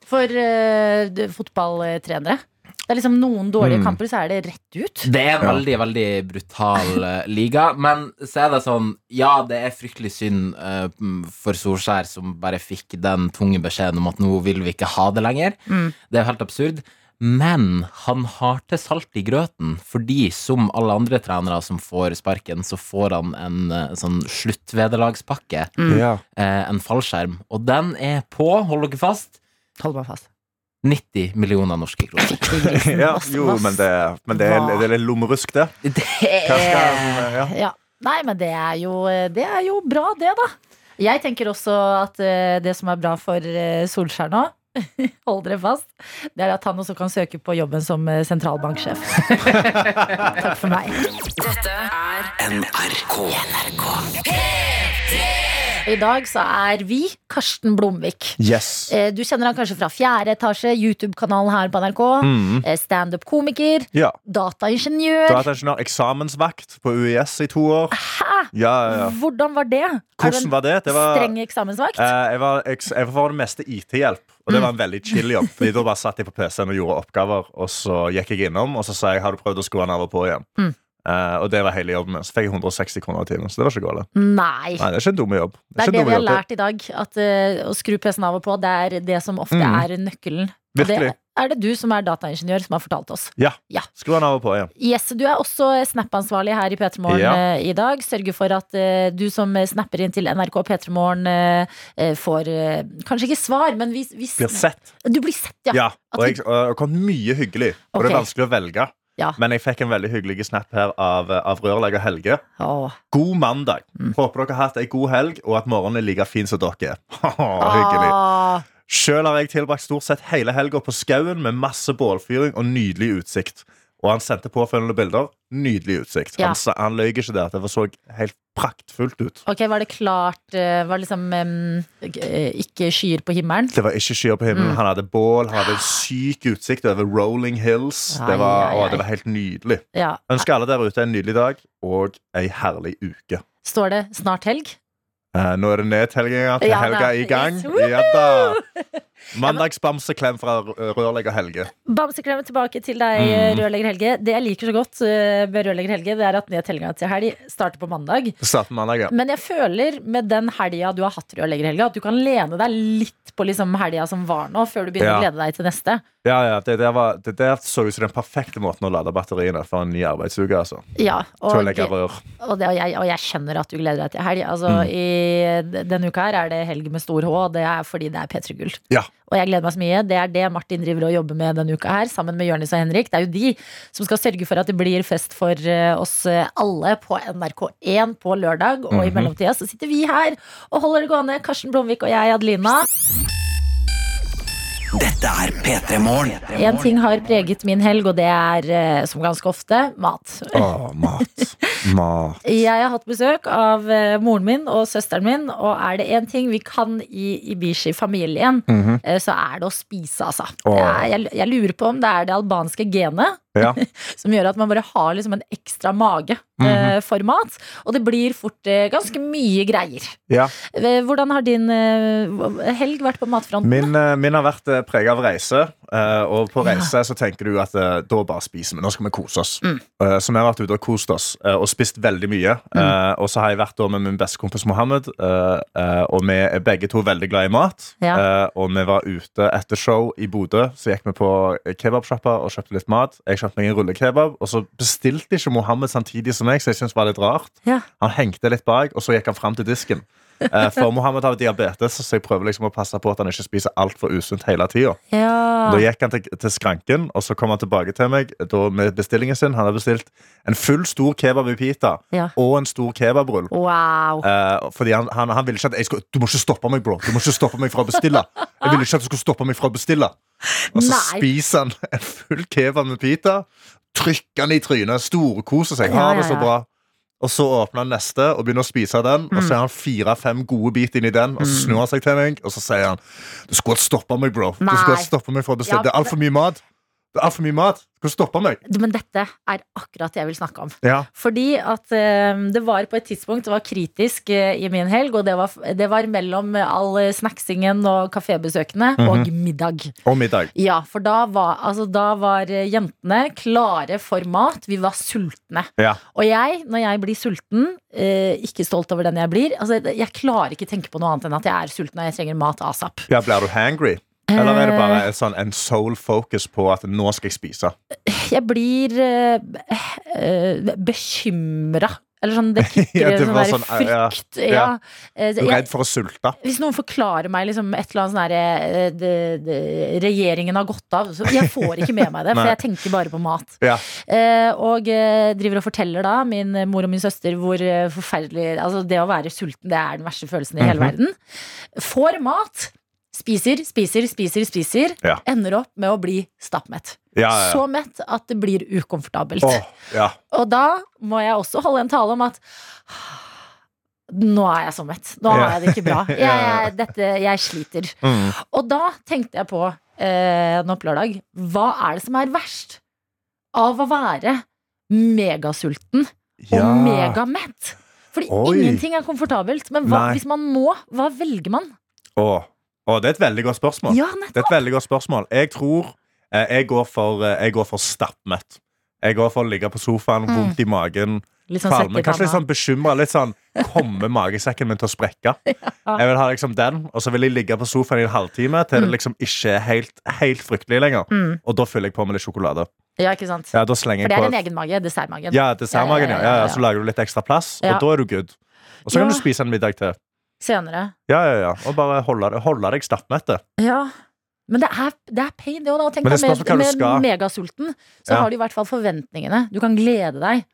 S2: For eh, d- fotballtrenere. Det er liksom noen
S3: Mm.
S2: dårlige kamper, så er det rett ut.
S5: Det er en veldig, veldig brutal eh, liga. Men så er det sånn Ja, det er fryktelig synd eh, m, for Solskjær, som bare fikk den tunge beskjeden om at nå vil vi ikke ha det lenger. Det er jo helt absurd. Men han har til salt i grøten, fordi som alle andre trenere som får sparken, så får han en eh, sånn sluttvederlagspakke,
S3: Ja.
S5: eh, en fallskjerm, og den er på, hold dere fast,
S2: Hold meg fast.
S5: 90 millioner norske kroner.
S3: Ja, jo, men det, men det, er, det er litt lommerusk, det.
S5: Det
S2: Eh.
S3: Hva skal han, eh, ja.
S2: Ja. Nei, men det er, jo, det er jo bra, det, da. Jeg tenker også at eh, det som er bra for eh, Solskjær nå, hold dere fast, det er at han også kan søke på jobben som eh, sentralbanksjef. Takk for meg.
S1: NRK.
S2: I dag så er vi Karsten Blomvik.
S3: Yes.
S2: Eh, Du kjenner han kanskje fra fjerde etasje, YouTube-kanalen her på NRK.
S3: Mm.
S2: eh, Standup-komiker.
S3: Ja. Du har
S2: Dataingeniør.
S3: hatt ingeniør eksamensvakt på UiS i to år. Ja, ja, ja.
S2: Hvordan var det?
S3: Hvordan var det? Det
S2: var
S3: var
S2: Streng eksamensvakt?
S3: Eh, jeg, var, jeg, jeg var for det meste IT-hjelp, og det var en veldig chill jobb. Fordi Da bare satt jeg på PC-en og gjorde oppgaver, og så gikk jeg innom og så sa jeg, har du prøvd å skru den av og på igjen.
S2: Mm.
S3: Eh, og det var hele jobben min. Så fikk jeg 160 kroner i timen. Så det var ikke galt.
S2: Nei.
S3: Nei, det er ikke en dum jobb.
S2: Det er
S3: ikke
S2: det vi
S3: en dum
S2: har
S3: jobb.
S2: lært i dag. At eh, Å skru PC-en av og på, det er det som ofte
S3: Mm.
S2: er nøkkelen. Og
S3: Virkelig.
S2: Det er det du som er dataingeniør som har fortalt oss.
S3: Ja.
S2: Ja.
S3: Skru den av og på igjen.
S2: Yes, Du er også Snap-ansvarlig her i P3 Morgen
S3: Ja.
S2: eh, i dag. Sørger for at eh, du som snapper inn til NRK P3 Morgen, eh, eh, får eh, kanskje ikke svar, men vi, vi
S3: Blir sett.
S2: Du blir sett, ja.
S3: Ja. Og
S2: At
S3: jeg og jeg kom mye hyggelig. Og
S2: Ok.
S3: det er vanskelig å velge.
S2: Ja.
S3: Men jeg fikk en veldig hyggelig snap her av, av rørlegger Helge.
S2: Åh.
S3: God mandag.
S2: Mm.
S3: Håper dere har hatt ei god helg, og at morgenen er like fin som dere. er hyggelig.
S2: Ah,
S3: Sjøl har jeg tilbrakt stort sett hele helga på skauen med masse bålfyring og nydelig utsikt. Og han sendte påfølgende bilder. Nydelig utsikt.
S2: Ja.
S3: Han, sa- han løy ikke der. Det var så helt praktfullt ut.
S2: Ok, Var det klart eh, Var det liksom em, g- eh, ikke skyer på himmelen?
S3: Det var ikke skyer på
S2: Mm.
S3: himmelen. Han hadde bål, han hadde en syk utsikt over rolling hills.
S2: Ai,
S3: Det var,
S2: ai,
S3: å,
S2: ai.
S3: det var helt nydelig.
S2: Ja.
S3: Ønsker alle der ute en nydelig dag og ei herlig uke.
S2: Står det 'snart helg'?
S3: Eh, nå er det nedtellinga til
S2: Ja da.
S3: helga i gang.
S2: Yes, woohoo!
S3: Ja da. Mandagsbamseklem fra r- rørlegger Helge.
S2: Bamseklem tilbake til deg, eh, rørlegger Helge. Det jeg liker så godt eh, med rørlegger Helge, det er at nedtellinga til helg starter på mandag.
S3: Starten mandag, ja.
S2: Men jeg føler med den helga du har hatt rørlegger Helge, at du kan lene deg litt på liksom helga som var nå, før du begynner å
S3: Ja.
S2: glede deg til neste.
S3: ja, ja det, der var, det der så ut som den perfekte måten å lade batteriene for en ny arbeidsuke. altså.
S2: Ja, og,
S3: Til å legge rør.
S2: og, det, og, jeg, og jeg skjønner at du gleder deg til helg. Altså, i, denne uka her er det helg med stor H, og det er fordi det er P3 Gull.
S3: Ja.
S2: Og jeg gleder meg så mye. Det er det Martin driver og jobber med denne uka her, sammen med Jørnis og Henrik. Det er jo de som skal sørge for at det blir fest for eh, oss eh, alle på NRK1 på lørdag. Og i mellomtida så sitter vi her og holder det gående. Karsten Blomvik og jeg, Adelina.
S1: Dette er P3 Morgen.
S2: Én ting har preget min helg, og det er, eh, som ganske ofte, mat.
S3: Å, mat. Mat.
S2: Jeg har hatt besøk av eh, moren min og søsteren min, og er det én ting vi kan i Ibishi-familien, eh, så er det å spise, altså.
S3: Mhm. Åh.
S2: Det er- Jeg, jeg lurer på om det er det albanske genet
S3: Ja.
S2: som gjør at man bare har liksom en ekstra mage eh,
S3: Mhm.
S2: for mat, og det blir fort eh, ganske mye greier.
S3: ja.
S2: Eh, Hvordan har din eh, helg vært på matfronten?
S3: Min, eh, min har vært prega av reise. eh, Og på reise så tenker du at eh, da bare spiser vi. Nå skal vi kose oss. Eh, Så vi har vært ute og kost oss eh, og spist veldig mye. Eh, Og så har jeg vært da med min bestekompis Mohammed, eh, eh, og vi er begge to veldig glad i mat.
S2: Ja.
S3: Eh, Og vi var ute etter show i Bodø, så gikk vi på kebabsjappa og kjøpte litt mat. Jeg kjøpte meg en rullekebab, og så bestilte ikke Mohammed samtidig som meg, så jeg syntes det var litt rart.
S2: Ja.
S3: Han hengte litt bak, og så gikk han fram til disken. Eh, For Mohammed har diabetes, så jeg prøver liksom å passe på at han ikke spiser altfor usunt hele tida.
S2: Ja.
S3: Da gikk han til, til skranken, og så kom han tilbake til meg da med bestillingen sin. Han hadde bestilt en full stor kebab i pita
S2: Ja.
S3: og en stor kebabrull.
S2: Wow.
S3: Eh, fordi han, han, han ville ikke at jeg skulle Du må ikke stoppe meg, bro. Du må ikke stoppe meg fra å bestille. Jeg ville ikke at du skulle stoppe meg fra å bestille. Og så
S2: Nei.
S3: spiser han en full kebab med pita, trykker han i trynet, storkoser seg.
S2: Ja,
S3: Har
S2: ja,
S3: det så
S2: ja.
S3: bra. Og så åpner han neste og begynner å spise den. Og
S2: Mm.
S3: så er han fire-fem gode bit inni den, og så snur han seg til meg og så sier han Du skulle ha stoppa meg, bro. Du
S2: Nei.
S3: skulle ha stoppet meg fra å bestille.
S2: Ja,
S3: det er altfor mye mat. Det er altfor mye mat. Du skulle stoppe meg.
S2: Du, Men dette er akkurat det jeg vil snakke om.
S3: Ja.
S2: Fordi at eh, det var på et tidspunkt det var kritisk eh, i min helg, og det var, det var mellom all snacksingen og kafébesøkene og
S3: Mhm.
S2: middag.
S3: Og middag.
S2: Ja, for da var, altså, da var eh, jentene klare for mat. Vi var sultne.
S3: Ja.
S2: Og jeg, når jeg blir sulten, eh, ikke stolt over den jeg blir altså, Jeg klarer ikke tenke på noe annet enn at jeg er sulten og jeg trenger mat asap.
S3: Ja, blir du hangry? Eller er det bare
S2: Eh.
S3: en sånn en soul focus på at nå skal jeg spise?
S2: Jeg blir eh, eh, bekymra. Eller sånn, det kicker
S3: Ja, det
S2: en
S3: var
S2: sånn,
S3: sånn,
S2: der
S3: ja,
S2: frykt.
S3: ja.
S2: Ja. Eh,
S3: Du
S2: så
S3: er
S2: jeg-
S3: redd for å sulte?
S2: Hvis noen forklarer meg liksom et eller annet sånn her eh, det- det- Regjeringen har gått av. Så jeg får ikke med meg det, for
S3: Nei.
S2: jeg tenker bare på mat.
S3: Ja.
S2: Eh, og eh, driver og forteller da min mor og min søster hvor eh, forferdelig Altså, det å være sulten, det er den verste følelsen i hele
S3: Mhm.
S2: verden. Får mat. Spiser, spiser, spiser, spiser.
S3: Ja.
S2: Ender opp med å bli stappmett.
S3: Ja, ja, ja.
S2: Så mett at det blir ukomfortabelt.
S3: Åh, ja.
S2: Og da må jeg også holde en tale om at nå er jeg så mett. Nå har
S3: Ja.
S2: jeg det ikke bra. Jeg,
S3: Ja, ja.
S2: jeg, dette, jeg sliter.
S3: Mm.
S2: Og da tenkte jeg på eh, nå på lørdag Hva er det som er verst av å være megasulten og
S3: Ja.
S2: megamett? Fordi
S3: Oi.
S2: ingenting er komfortabelt. Men hva,
S3: Nei.
S2: hvis man må, hva velger man?
S3: Åh. Åh, det er et veldig godt spørsmål.
S2: Ja,
S3: Det er
S2: nettopp.
S3: et veldig godt spørsmål. Jeg tror eh, jeg går for, eh, jeg går for stappmett. Jeg går for å ligge på sofaen, vondt i magen,
S2: Litt Mm. sånn
S3: kvalme.
S2: svett i
S3: Kanskje litt
S2: panna.
S3: sånn bekymra. Litt sånn Kommer magesekken min til å sprekke? Jeg vil ha liksom den, og så vil jeg ligge på sofaen i en halvtime til det liksom ikke er helt, helt fryktelig lenger.
S2: Mm.
S3: Og da fyller jeg på med litt sjokolade.
S2: Ja, ikke sant?
S3: Ja, da
S2: For
S3: slenger jeg
S2: det
S3: på
S2: er din egen mage. Dessertmagen.
S3: Ja, dessertmagen, ja, ja, ja. Så lager du litt ekstra plass,
S2: Ja.
S3: og da er du good. Og så
S2: Ja.
S3: kan du spise en middag til.
S2: Senere.
S3: Ja, ja, ja. Og bare holde, deg- holde deg stappmette.
S2: Ja men det er, det er pain, det òg. Tenk
S3: Men
S2: deg
S3: det spørs
S2: med,
S3: hva du
S2: med
S3: skal.
S2: megasulten, så
S3: Ja.
S2: har du i hvert fall forventningene. Du kan glede deg.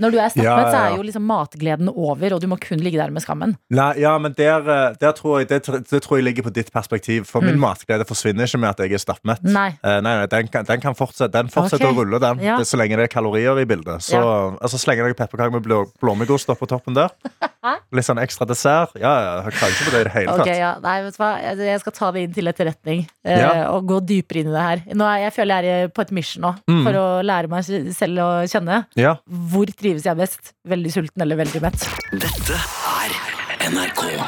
S2: Når du er stappmett,
S3: Ja,
S2: så
S3: ja, ja.
S2: er jo liksom matgleden over, og du må kun ligge der med skammen.
S3: Nei, ja, men der, eh, der tror jeg, det, tr- det tror jeg ligger på ditt perspektiv. For min matglede forsvinner ikke med at jeg er stappmett.
S2: Mm. Nei.
S3: Eh, nei, nei, den, kan- den kan fortsette, den fortsetter
S2: Ok.
S3: å rulle, den.
S2: Ja.
S3: Det, så lenge det er kalorier i bildet. Så altså, slenger jeg pepperkaker med blå, blåmuggost oppå toppen der. Litt sånn ekstra dessert. Ja, ja, jeg klager ikke på det i det hele
S2: Ok,
S3: tatt.
S2: ja. Nei, vet du hva? Jeg- Jeg skal ta det inn til etterretning eh,
S3: Ja.
S2: og gå dypere inn i det her. Nå er, jeg føler jeg er på et mission nå,
S3: Mm.
S2: for å lære meg selv å kjenne.
S3: Ja.
S2: Hvor trives jeg best? Veldig sulten eller veldig mett?
S1: Dette er NRK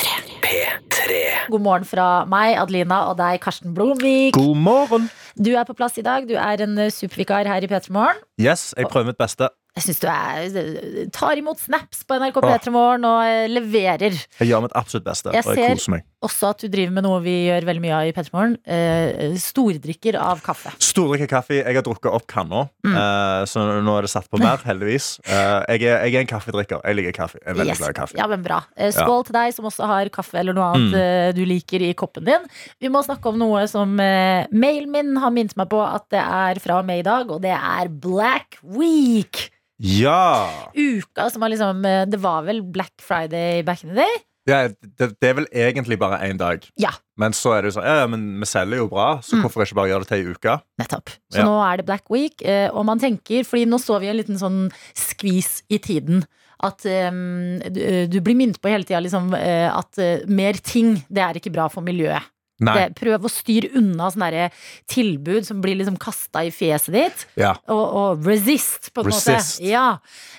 S1: P3.
S2: God morgen fra meg, Adelina, og deg, Karsten Blomvik.
S3: God morgen!
S2: Du er på plass i dag. Du er en eh, supervikar her i P3 Morgen.
S3: Yes, jeg prøver mitt beste.
S2: Jeg syns du er, tar imot snaps på NRK P3 Morgen og eh, leverer.
S3: Jeg gjør mitt absolutt beste.
S2: Jeg
S3: og jeg
S2: ser-
S3: koser meg.
S2: Også at du driver med noe vi gjør veldig mye av i P3 Morgen. Eh, stordrikker av kaffe.
S3: Stordrikke kaffe. Jeg har drukket opp kanna,
S2: Mm.
S3: eh, så nå er det satt på mer, heldigvis. Eh, jeg, er, jeg er en kaffedrikker. Jeg liker kaffe. Jeg er veldig
S2: Yes.
S3: glad i kaffe. Mm.
S2: Ja, men bra. Eh, Skål til deg som også har kaffe eller noe annet eh, du liker i koppen din. Vi må snakke om noe som eh, mailen min har minnet meg på at det er fra og med i dag, og det er Black Week.
S3: Ja!
S2: Uka som var liksom eh, Det var vel Black Friday back in the day?
S3: Ja, det, det er vel egentlig bare én dag.
S2: Ja. Mm.
S3: Men så er det jo sånn, ja, ja, men vi selger jo bra, så hvorfor ikke bare gjøre det til ei uke?
S2: Nettopp. Så
S3: Ja.
S2: nå er det Black Week, eh, og man tenker Fordi nå så vi en liten sånn skvis i tiden. At eh, du, du blir minnet på hele tida liksom, eh, at eh, mer ting, det er ikke bra for miljøet.
S3: Nei.
S2: Det, prøv å styre unna sånne der tilbud som blir liksom kasta i fjeset ditt.
S3: Ja.
S2: Og, og resist, på en
S3: Resist.
S2: måte. Ja.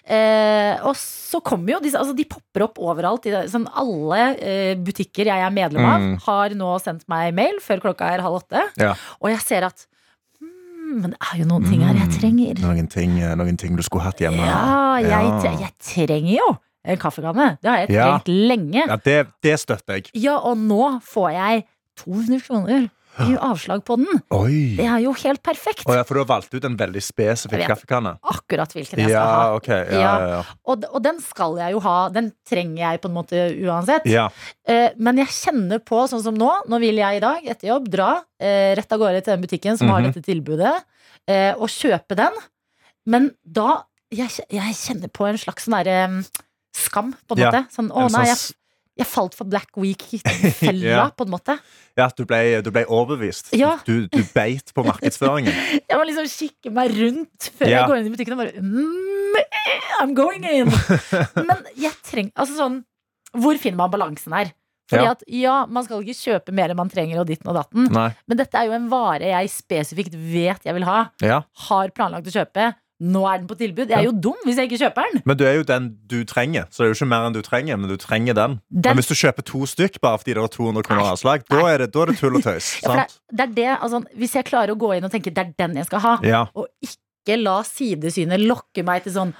S2: Eh, og så kommer jo disse altså De popper opp overalt. i det- Sånn, alle eh, butikker jeg er medlem av,
S3: Mm.
S2: har nå sendt meg mail før klokka er halv åtte.
S3: Ja.
S2: Og jeg ser at hmm, Men det er jo noen ting her jeg trenger.
S3: Noen ting, eh, noen ting du skulle hatt hjemme.
S2: Ja, jeg,
S3: Mm. Ja.
S2: tre- jeg trenger jo en kaffekanne. Det har jeg
S3: Ja.
S2: trengt lenge.
S3: Ja, det, det støtter jeg.
S2: Ja, og nå får jeg 200 kroner i avslag på den. Det
S3: Oi!
S2: er jo helt perfekt.
S3: Å ja, for du har valgt ut en veldig spesifikk
S2: Jeg vet.
S3: kaffekanne?
S2: Akkurat hvilken jeg skal
S3: Ja,
S2: ha.
S3: ok. Ja, ja, ja.
S2: Og, og den skal jeg jo ha. Den trenger jeg på en måte uansett.
S3: ja.
S2: Eh, men jeg kjenner på, sånn som nå, nå vil jeg i dag etter jobb dra eh, rett av gårde til den butikken som har
S3: Mhm.
S2: dette tilbudet, eh, og kjøpe den. Men da Jeg, kje- jeg kjenner på en slags sånn derre mm, skam, på en
S3: Ja,
S2: måte. Sånn å
S3: En
S2: nei,
S3: sånn
S2: jeg,
S3: s-
S2: jeg falt for Black Week-fella,
S3: Ja.
S2: på en måte.
S3: ja, at du ble, du ble overbevist.
S2: Ja.
S3: Du, du beit på markedsføringen.
S2: Jeg må liksom kikke meg rundt før
S3: Ja.
S2: jeg går inn i butikken og bare mm, eh, I'm going in! Men jeg trenger Altså sånn Hvor finner man balansen her? Fordi
S3: Ja.
S2: at ja, man skal ikke kjøpe mer enn man trenger og ditten og datten,
S3: Nei.
S2: men dette er jo en vare jeg spesifikt vet jeg vil ha,
S3: Ja.
S2: har planlagt å kjøpe. Nå er den på tilbud. Jeg er jo dum hvis jeg ikke kjøper den.
S3: Men du er jo den du trenger, så det er jo ikke mer enn du trenger. Men du trenger den.
S2: Den-
S3: Men hvis du kjøper to stykk bare fordi det er 200 kroner avslag, da er det, da er det tull og tøys.
S2: Ja, for det,
S3: sant?
S2: er- det er det, altså, hvis jeg klarer å gå inn og tenke det er den jeg skal ha,
S3: Ja.
S2: og ikke la sidesynet lokke meg til sånn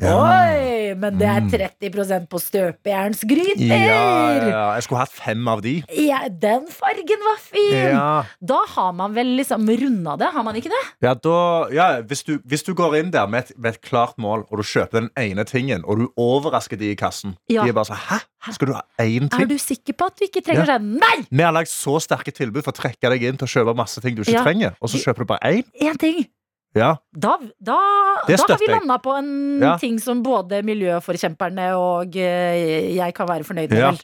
S3: Ja.
S2: Oi, men det er 30 på støpejernsgryter!
S3: Ja, ja, ja, jeg skulle hatt fem av de.
S2: Ja, den fargen var fin!
S3: Ja,
S2: Da har man vel liksom runda det, har man ikke det?
S3: ja, da, ja hvis, du, hvis du går inn der med et, med et klart mål, og du kjøper den ene tingen, og du overrasker de i kassen
S2: Ja.
S3: De er bare sånn Hæ? Skal du ha én
S2: Er
S3: ting?
S2: du sikker på at du ikke trenger
S3: Ja.
S2: sånn Nei!
S3: Vi har lagd så sterke tilbud for å trekke deg inn til å kjøpe masse ting du ikke
S2: Ja.
S3: trenger, og så kjøper du bare én?
S2: Én ting.
S3: Ja.
S2: Da, da,
S3: Det
S2: da har vi
S3: støtter jeg.
S2: landa på en
S3: Ja.
S2: ting som både miljøforkjemperne og eh, jeg kan være fornøyd med.
S3: Ja.
S2: vel?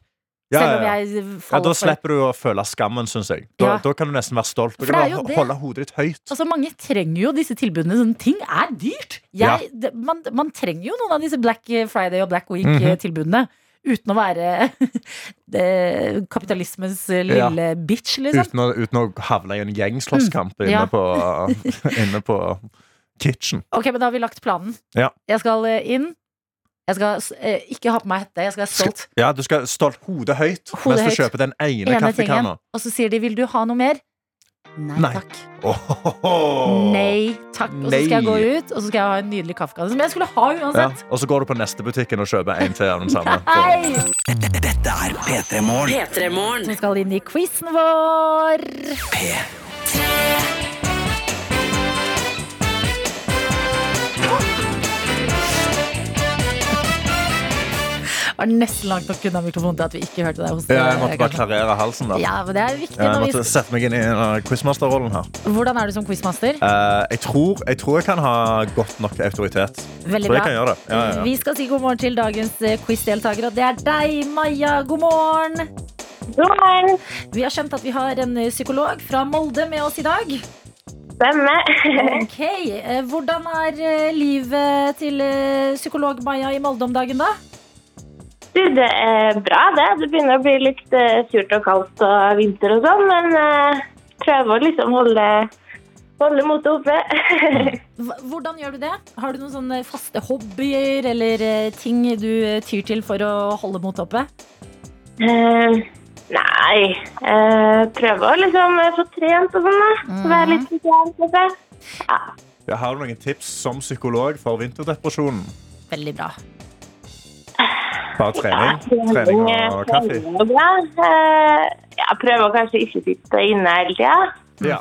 S3: Ja,
S2: Selv om
S3: ja, ja.
S2: jeg
S3: ja,
S2: faller
S3: da
S2: for
S3: slipper du å føle skammen, syns jeg. Da,
S2: Ja.
S3: da kan du nesten være stolt.
S2: For
S3: Du kan
S2: det er jo
S3: bare
S2: det.
S3: holde hodet ditt høyt.
S2: Altså, mange trenger jo disse tilbudene. Sånne ting er dyrt.
S3: Ja.
S2: Jeg, det, man, man trenger jo noen av disse Black Friday og Black
S3: Mhm.
S2: Week-tilbudene. Uten å være det, kapitalismens eh, lille bitch, liksom.
S3: Uten å, uten å havne i en gjengslåsskamp
S2: Mm,
S3: inne,
S2: ja.
S3: på- inne på kitchen.
S2: Ok, men da har vi lagt planen.
S3: Ja.
S2: Jeg skal eh, inn. Jeg skal eh, ikke ha på meg hette. Jeg skal være stolt.
S3: Ja, Du skal stolt hodet høyt
S2: Hodet
S3: mens du
S2: høyt.
S3: kjøper den ene,
S2: Ene tingen.
S3: kaffekanna.
S2: Og så sier de 'vil du ha noe mer'? Nei,
S3: Nei.
S2: takk.
S3: Åhåhå.
S2: Nei takk. Og så skal jeg gå ut, og så skal jeg ha en nydelig kaffekanne som jeg skulle ha
S3: Ja,
S2: uansett.
S3: og så går du på neste butikken og kjøper en til av den samme.
S2: Hei!
S1: Dette er P3 Morgen.
S4: P3-morgen.
S2: Som skal inn i quizen vår. var nesten langt nok unna mikrofonen til at vi ikke hørte deg hoste.
S3: Ja, jeg måtte bare
S2: kanskje.
S3: klarere halsen. da
S2: ja, men det er viktig.
S3: Jeg
S2: Når
S3: måtte
S2: vi...
S3: sette meg inn i eh, quizmaster-rollen her.
S2: Hvordan er du som quizmaster?
S3: Eh, jeg, tror, jeg tror jeg kan ha godt nok autoritet.
S2: Veldig
S3: tror
S2: bra.
S3: jeg
S2: Mm,
S3: kan gjøre det. Ja, ja, ja.
S2: Vi skal si god morgen til dagens eh, quizdeltaker, og det er deg, Maja. God morgen!
S6: God morgen.
S2: Vi har skjønt at vi har en eh, psykolog fra Molde med oss i dag.
S6: Stemme.
S2: Ok, eh, Hvordan er eh, livet til eh, psykolog Maja i Molde om dagen, da?
S6: Du, det er bra det. Det begynner å bli litt eh, surt og kaldt og vinter og sånn, men eh, prøver å liksom holde, holde motet oppe.
S2: Hva- Hvordan gjør du det? Har du noen sånne faste hobbyer eller eh, ting du eh, tyr til for å holde motet oppe?
S6: Eh, nei, eh, prøver å liksom eh, få trent og sånn da. Være litt sosial, kanskje.
S3: Ja, har du noen tips som psykolog for vinterdepresjonen?
S2: Veldig bra.
S3: Bare trening, trening og kaffe?
S6: trening er bra. Eh, ja, prøver å kanskje ikke sitte inne hele tida.
S3: Ja.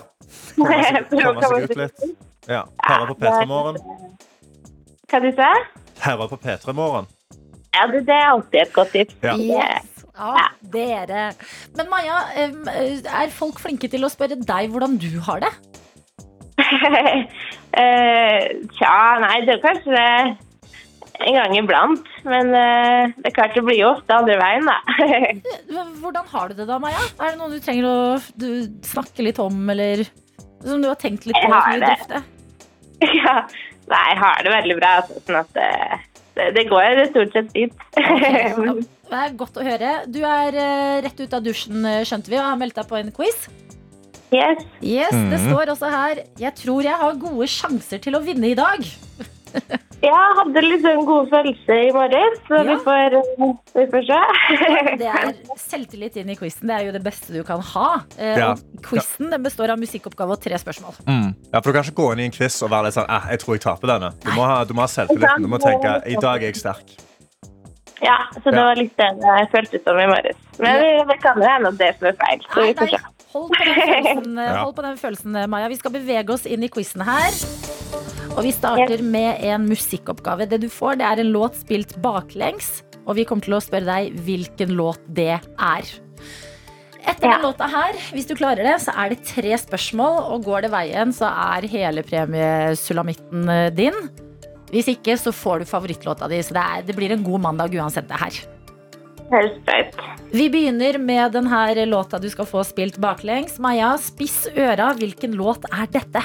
S3: Komme seg, komme seg ut litt. Ja. Høre på P3-morgen.
S6: Hva du sa?
S3: Høre på P3-morgen.
S6: Ja, det, det er alltid et godt tips.
S3: Ja.
S2: Yes. Ja, dere. Men Maja, em, eh, er folk flinke til å spørre deg hvordan du har det?
S6: Eh, tja, nei, det er kanskje det en gang iblant. Men eh, det er klart det blir jo ofte andre veien, da.
S2: Eh, Hvordan har du det da, Maja? Er det noe du trenger å du, snakke litt om, eller som du har tenkt litt på?
S6: Jeg
S2: som
S6: har
S2: du
S6: det.
S2: drøfter?
S6: ja. Nei, jeg har det veldig bra. Altså, sånn at eh, det, det går stort sett fint.
S2: Ja, Det er godt å høre. Du er eh, rett ut av dusjen, eh, skjønte vi, og har meldt deg på en quiz.
S6: yes.
S2: Yes, Det står også her Jeg tror jeg har gode sjanser til å vinne i dag.
S6: Jeg hadde liksom god følelse i morges,
S2: Ja.
S6: så vi, får, eh, vi får se.
S2: Det er selvtillit inn i quizen. Det er jo det beste du kan ha. Eh,
S3: Ja.
S2: Og quizen den består av musikkoppgave og tre spørsmål.
S3: Mm. ja, for Du kan ikke gå inn i en quiz og være litt sånn eh, jeg tror jeg taper denne. Du må ha, du må ha selvtilliten. Du må tenke i dag er jeg sterk.
S6: ja, så det
S3: Ja.
S6: var litt det jeg følte som i morges. Men det- det kan jo hende at det er som er feil. Så
S2: Nei,
S6: vi får
S2: nei,
S6: se.
S2: hold på den følelsen, eh,
S3: Ja.
S2: hold på den følelsen eh, Maja. Vi skal bevege oss inn i quizen her. Og vi starter med en musikkoppgave. Det du får, det er en låt spilt baklengs. Og vi kommer til å spørre deg hvilken låt det er. Etter
S6: Ja.
S2: den låta her, hvis du klarer det, så er det tre spørsmål. Og går det veien, så er hele premiesulamitten eh, din. Hvis ikke, så får du favorittlåta di. Så det, er, det blir en god mandag uansett, det her.
S6: Høres bra ut.
S2: Vi begynner med denne låta du skal få spilt baklengs. Maja, spiss øra. Hvilken låt er dette?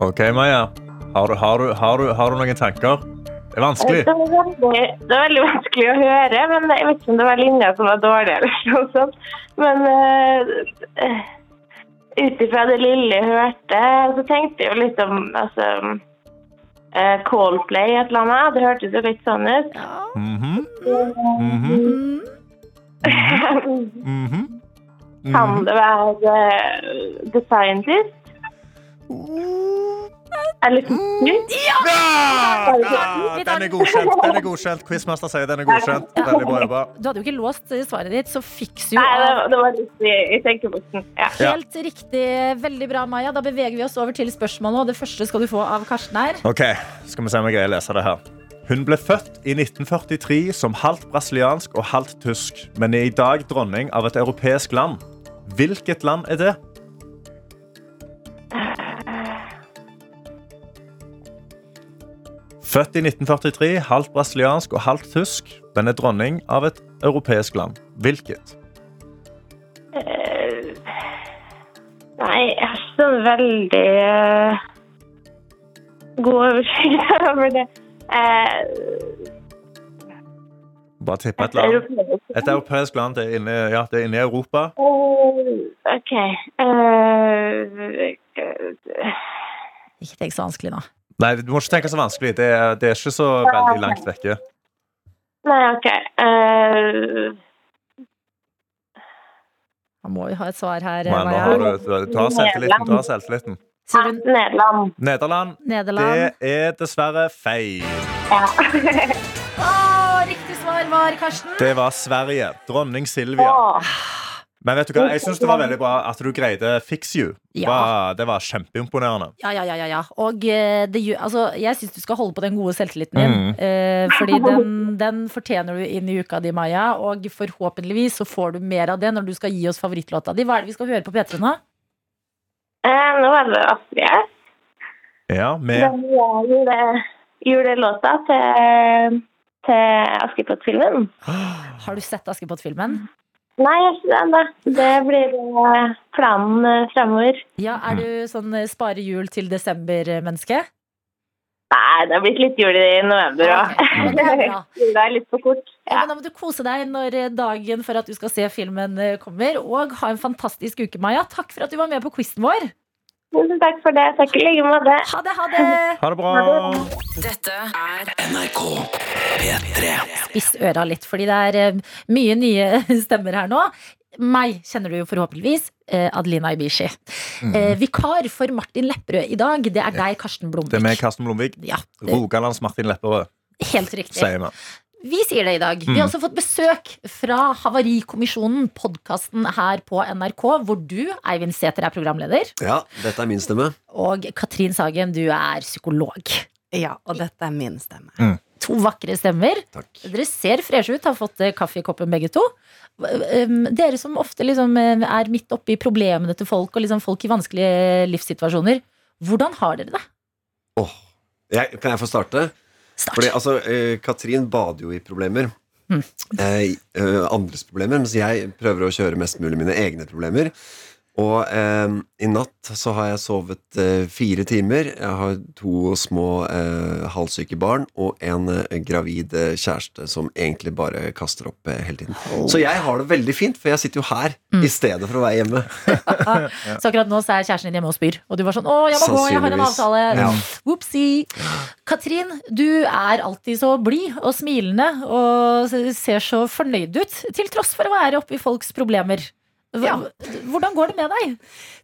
S3: OK, Maja. Har du, har, du, har, du, har du noen tanker? Det er vanskelig.
S6: Det var, veldig, det var veldig vanskelig å høre, men jeg vet ikke om det var linja som var dårlig eller noe sånt. Men uh, ut ifra det lille jeg hørte, så tenkte jeg jo litt om altså, eh, Coldplay et eller annet. Det hørtes jo litt sånn ut.
S3: Mhm. Mhm. Mhm.
S6: Kan det være eh, The Scientist? Eller
S3: Mm.
S6: Fitness?
S3: Ja! Ja, Den er godkjent. Den er godkjent. Quizmaster sier den er godkjent. Veldig bra jobba.
S2: Du hadde jo ikke låst eh, svaret ditt, så fiks jo
S6: Nei, det,
S2: av.
S6: det var litt i, i tenkeboksen. Ja.
S3: Ja.
S2: Helt riktig. Veldig bra, Maja. Da beveger vi oss over til spørsmålet, og det første skal du få av Karsten her.
S3: Ok, skal vi se om jeg greier å lese det her. Hun ble født i 1943 som halvt brasiliansk og halvt tysk, men er i dag dronning av et europeisk land. Hvilket land er det? Født i 1943, halvt brasiliansk og halvt tysk. Den er dronning av et europeisk land. Hvilket?
S6: Eh, Nei, jeg har ikke sånn veldig eh, god oversikt over det. Eh,
S3: Bare tippe et land.
S6: europeisk.
S3: Et europeisk land det er inne, ja, det er inne i Europa.
S6: Eh, OK. eh,
S2: Ikke tenk så vanskelig nå.
S3: Nei, du må ikke tenke så vanskelig. Det er, det er ikke så veldig langt vekke.
S6: nei, OK. eh,
S2: Han må jo ha et svar her, eh,
S3: Men nå
S2: Maja.
S3: har du, du har selvtilliten. Du har selvtilliten.
S2: Sier du
S6: Nederland.
S3: Nederland.
S2: Nederland?
S3: Det er dessverre feil.
S2: Å, riktig svar var Karsten.
S3: Det var Sverige. Dronning Silvia.
S6: Åh,
S3: Men vet du hva, jeg syns det var veldig bra at du greide Fix You.
S2: Ja.
S3: Var- Det var kjempeimponerende.
S2: Ja, ja, ja, ja, ja. Og eh, det, gjør- altså, jeg syns du skal holde på den gode selvtilliten din. Eh, fordi den, den fortjener du inn i uka di, Maja. Og forhåpentligvis så får du mer av det når du skal gi oss favorittlåta di. Hva er det vi skal høre på P3 nå?
S6: eh, nå er det Astrid her.
S3: Ja, med
S6: Den eh, er jule, julelåta til, til Askepott-filmen.
S2: Har du sett Askepott-filmen?
S6: Nei, jeg er ikke det ennå. Det blir eh, planen eh, fremover.
S2: Ja, Er du sånn eh, spare jul til desember-menneske?
S6: Nei, det har blitt litt jul i november òg.
S2: Ja, men det er bra.
S6: Jula er litt for kort.
S2: Ja, men da må du kose deg når eh, dagen for at du skal se filmen eh, kommer. Og ha en fantastisk uke, Maja. Takk for at du var med på quizen vår.
S6: Tusen takk for det. Takk i like måte.
S2: Ha det, ha det!
S3: Ha det bra.
S4: Dette er
S1: NRK P3.
S2: Spiss øra litt, fordi det er eh, mye nye stemmer her nå. Meg kjenner du jo forhåpentligvis. eh, Adelina Ibishi. Eh, vikar for Martin Lepperød i dag, det er deg, Karsten
S3: Mm. Det er med
S2: Blomvik.
S3: Karsten Blomvik.
S2: Ja, det-
S3: Rogalands Martin Lepperød,
S2: helt riktig.
S3: sier Mm. vi.
S2: Vi sier det i dag. Vi har også fått besøk fra Havarikommisjonen, podkasten her på NRK, hvor du, Eivind Sæther, er programleder,
S7: Ja, dette er min stemme.
S2: og Katrin Sagen, du er psykolog.
S8: Ja, og dette er min stemme.
S2: To vakre stemmer.
S7: Takk.
S2: Dere ser freshe ut, har fått eh, kaffe i koppen begge to. Um, Dere som ofte liksom eh, er midt oppe i problemene til folk, og liksom folk i vanskelige eh, livssituasjoner. Hvordan har dere det?
S7: Åh, jeg, kan jeg få starte?
S2: Start.
S7: Fordi altså, eh, Katrin bader jo i problemer.
S2: Mm.
S7: Eh, eh, andres problemer, mens jeg prøver å kjøre mest mulig mine egne problemer. Og eh, i natt så har jeg sovet eh, fire timer. Jeg har to små eh, halvsyke barn og en eh, gravid eh, kjæreste som egentlig bare kaster opp eh, hele tiden. Så jeg har det veldig fint, for jeg sitter jo her i stedet for å være hjemme.
S2: Så akkurat nå så er kjæresten din hjemme og spyr, og du var sånn 'Å, jeg må gå, jeg har en
S7: Sannsynligvis.
S2: avtale'.
S7: Ja.
S2: Whoopsie. Katrin, du er alltid så blid og smilende og ser så fornøyd ut, til tross for å være oppe i folks problemer. Hva-
S8: Ja.
S2: Hvordan går det med deg?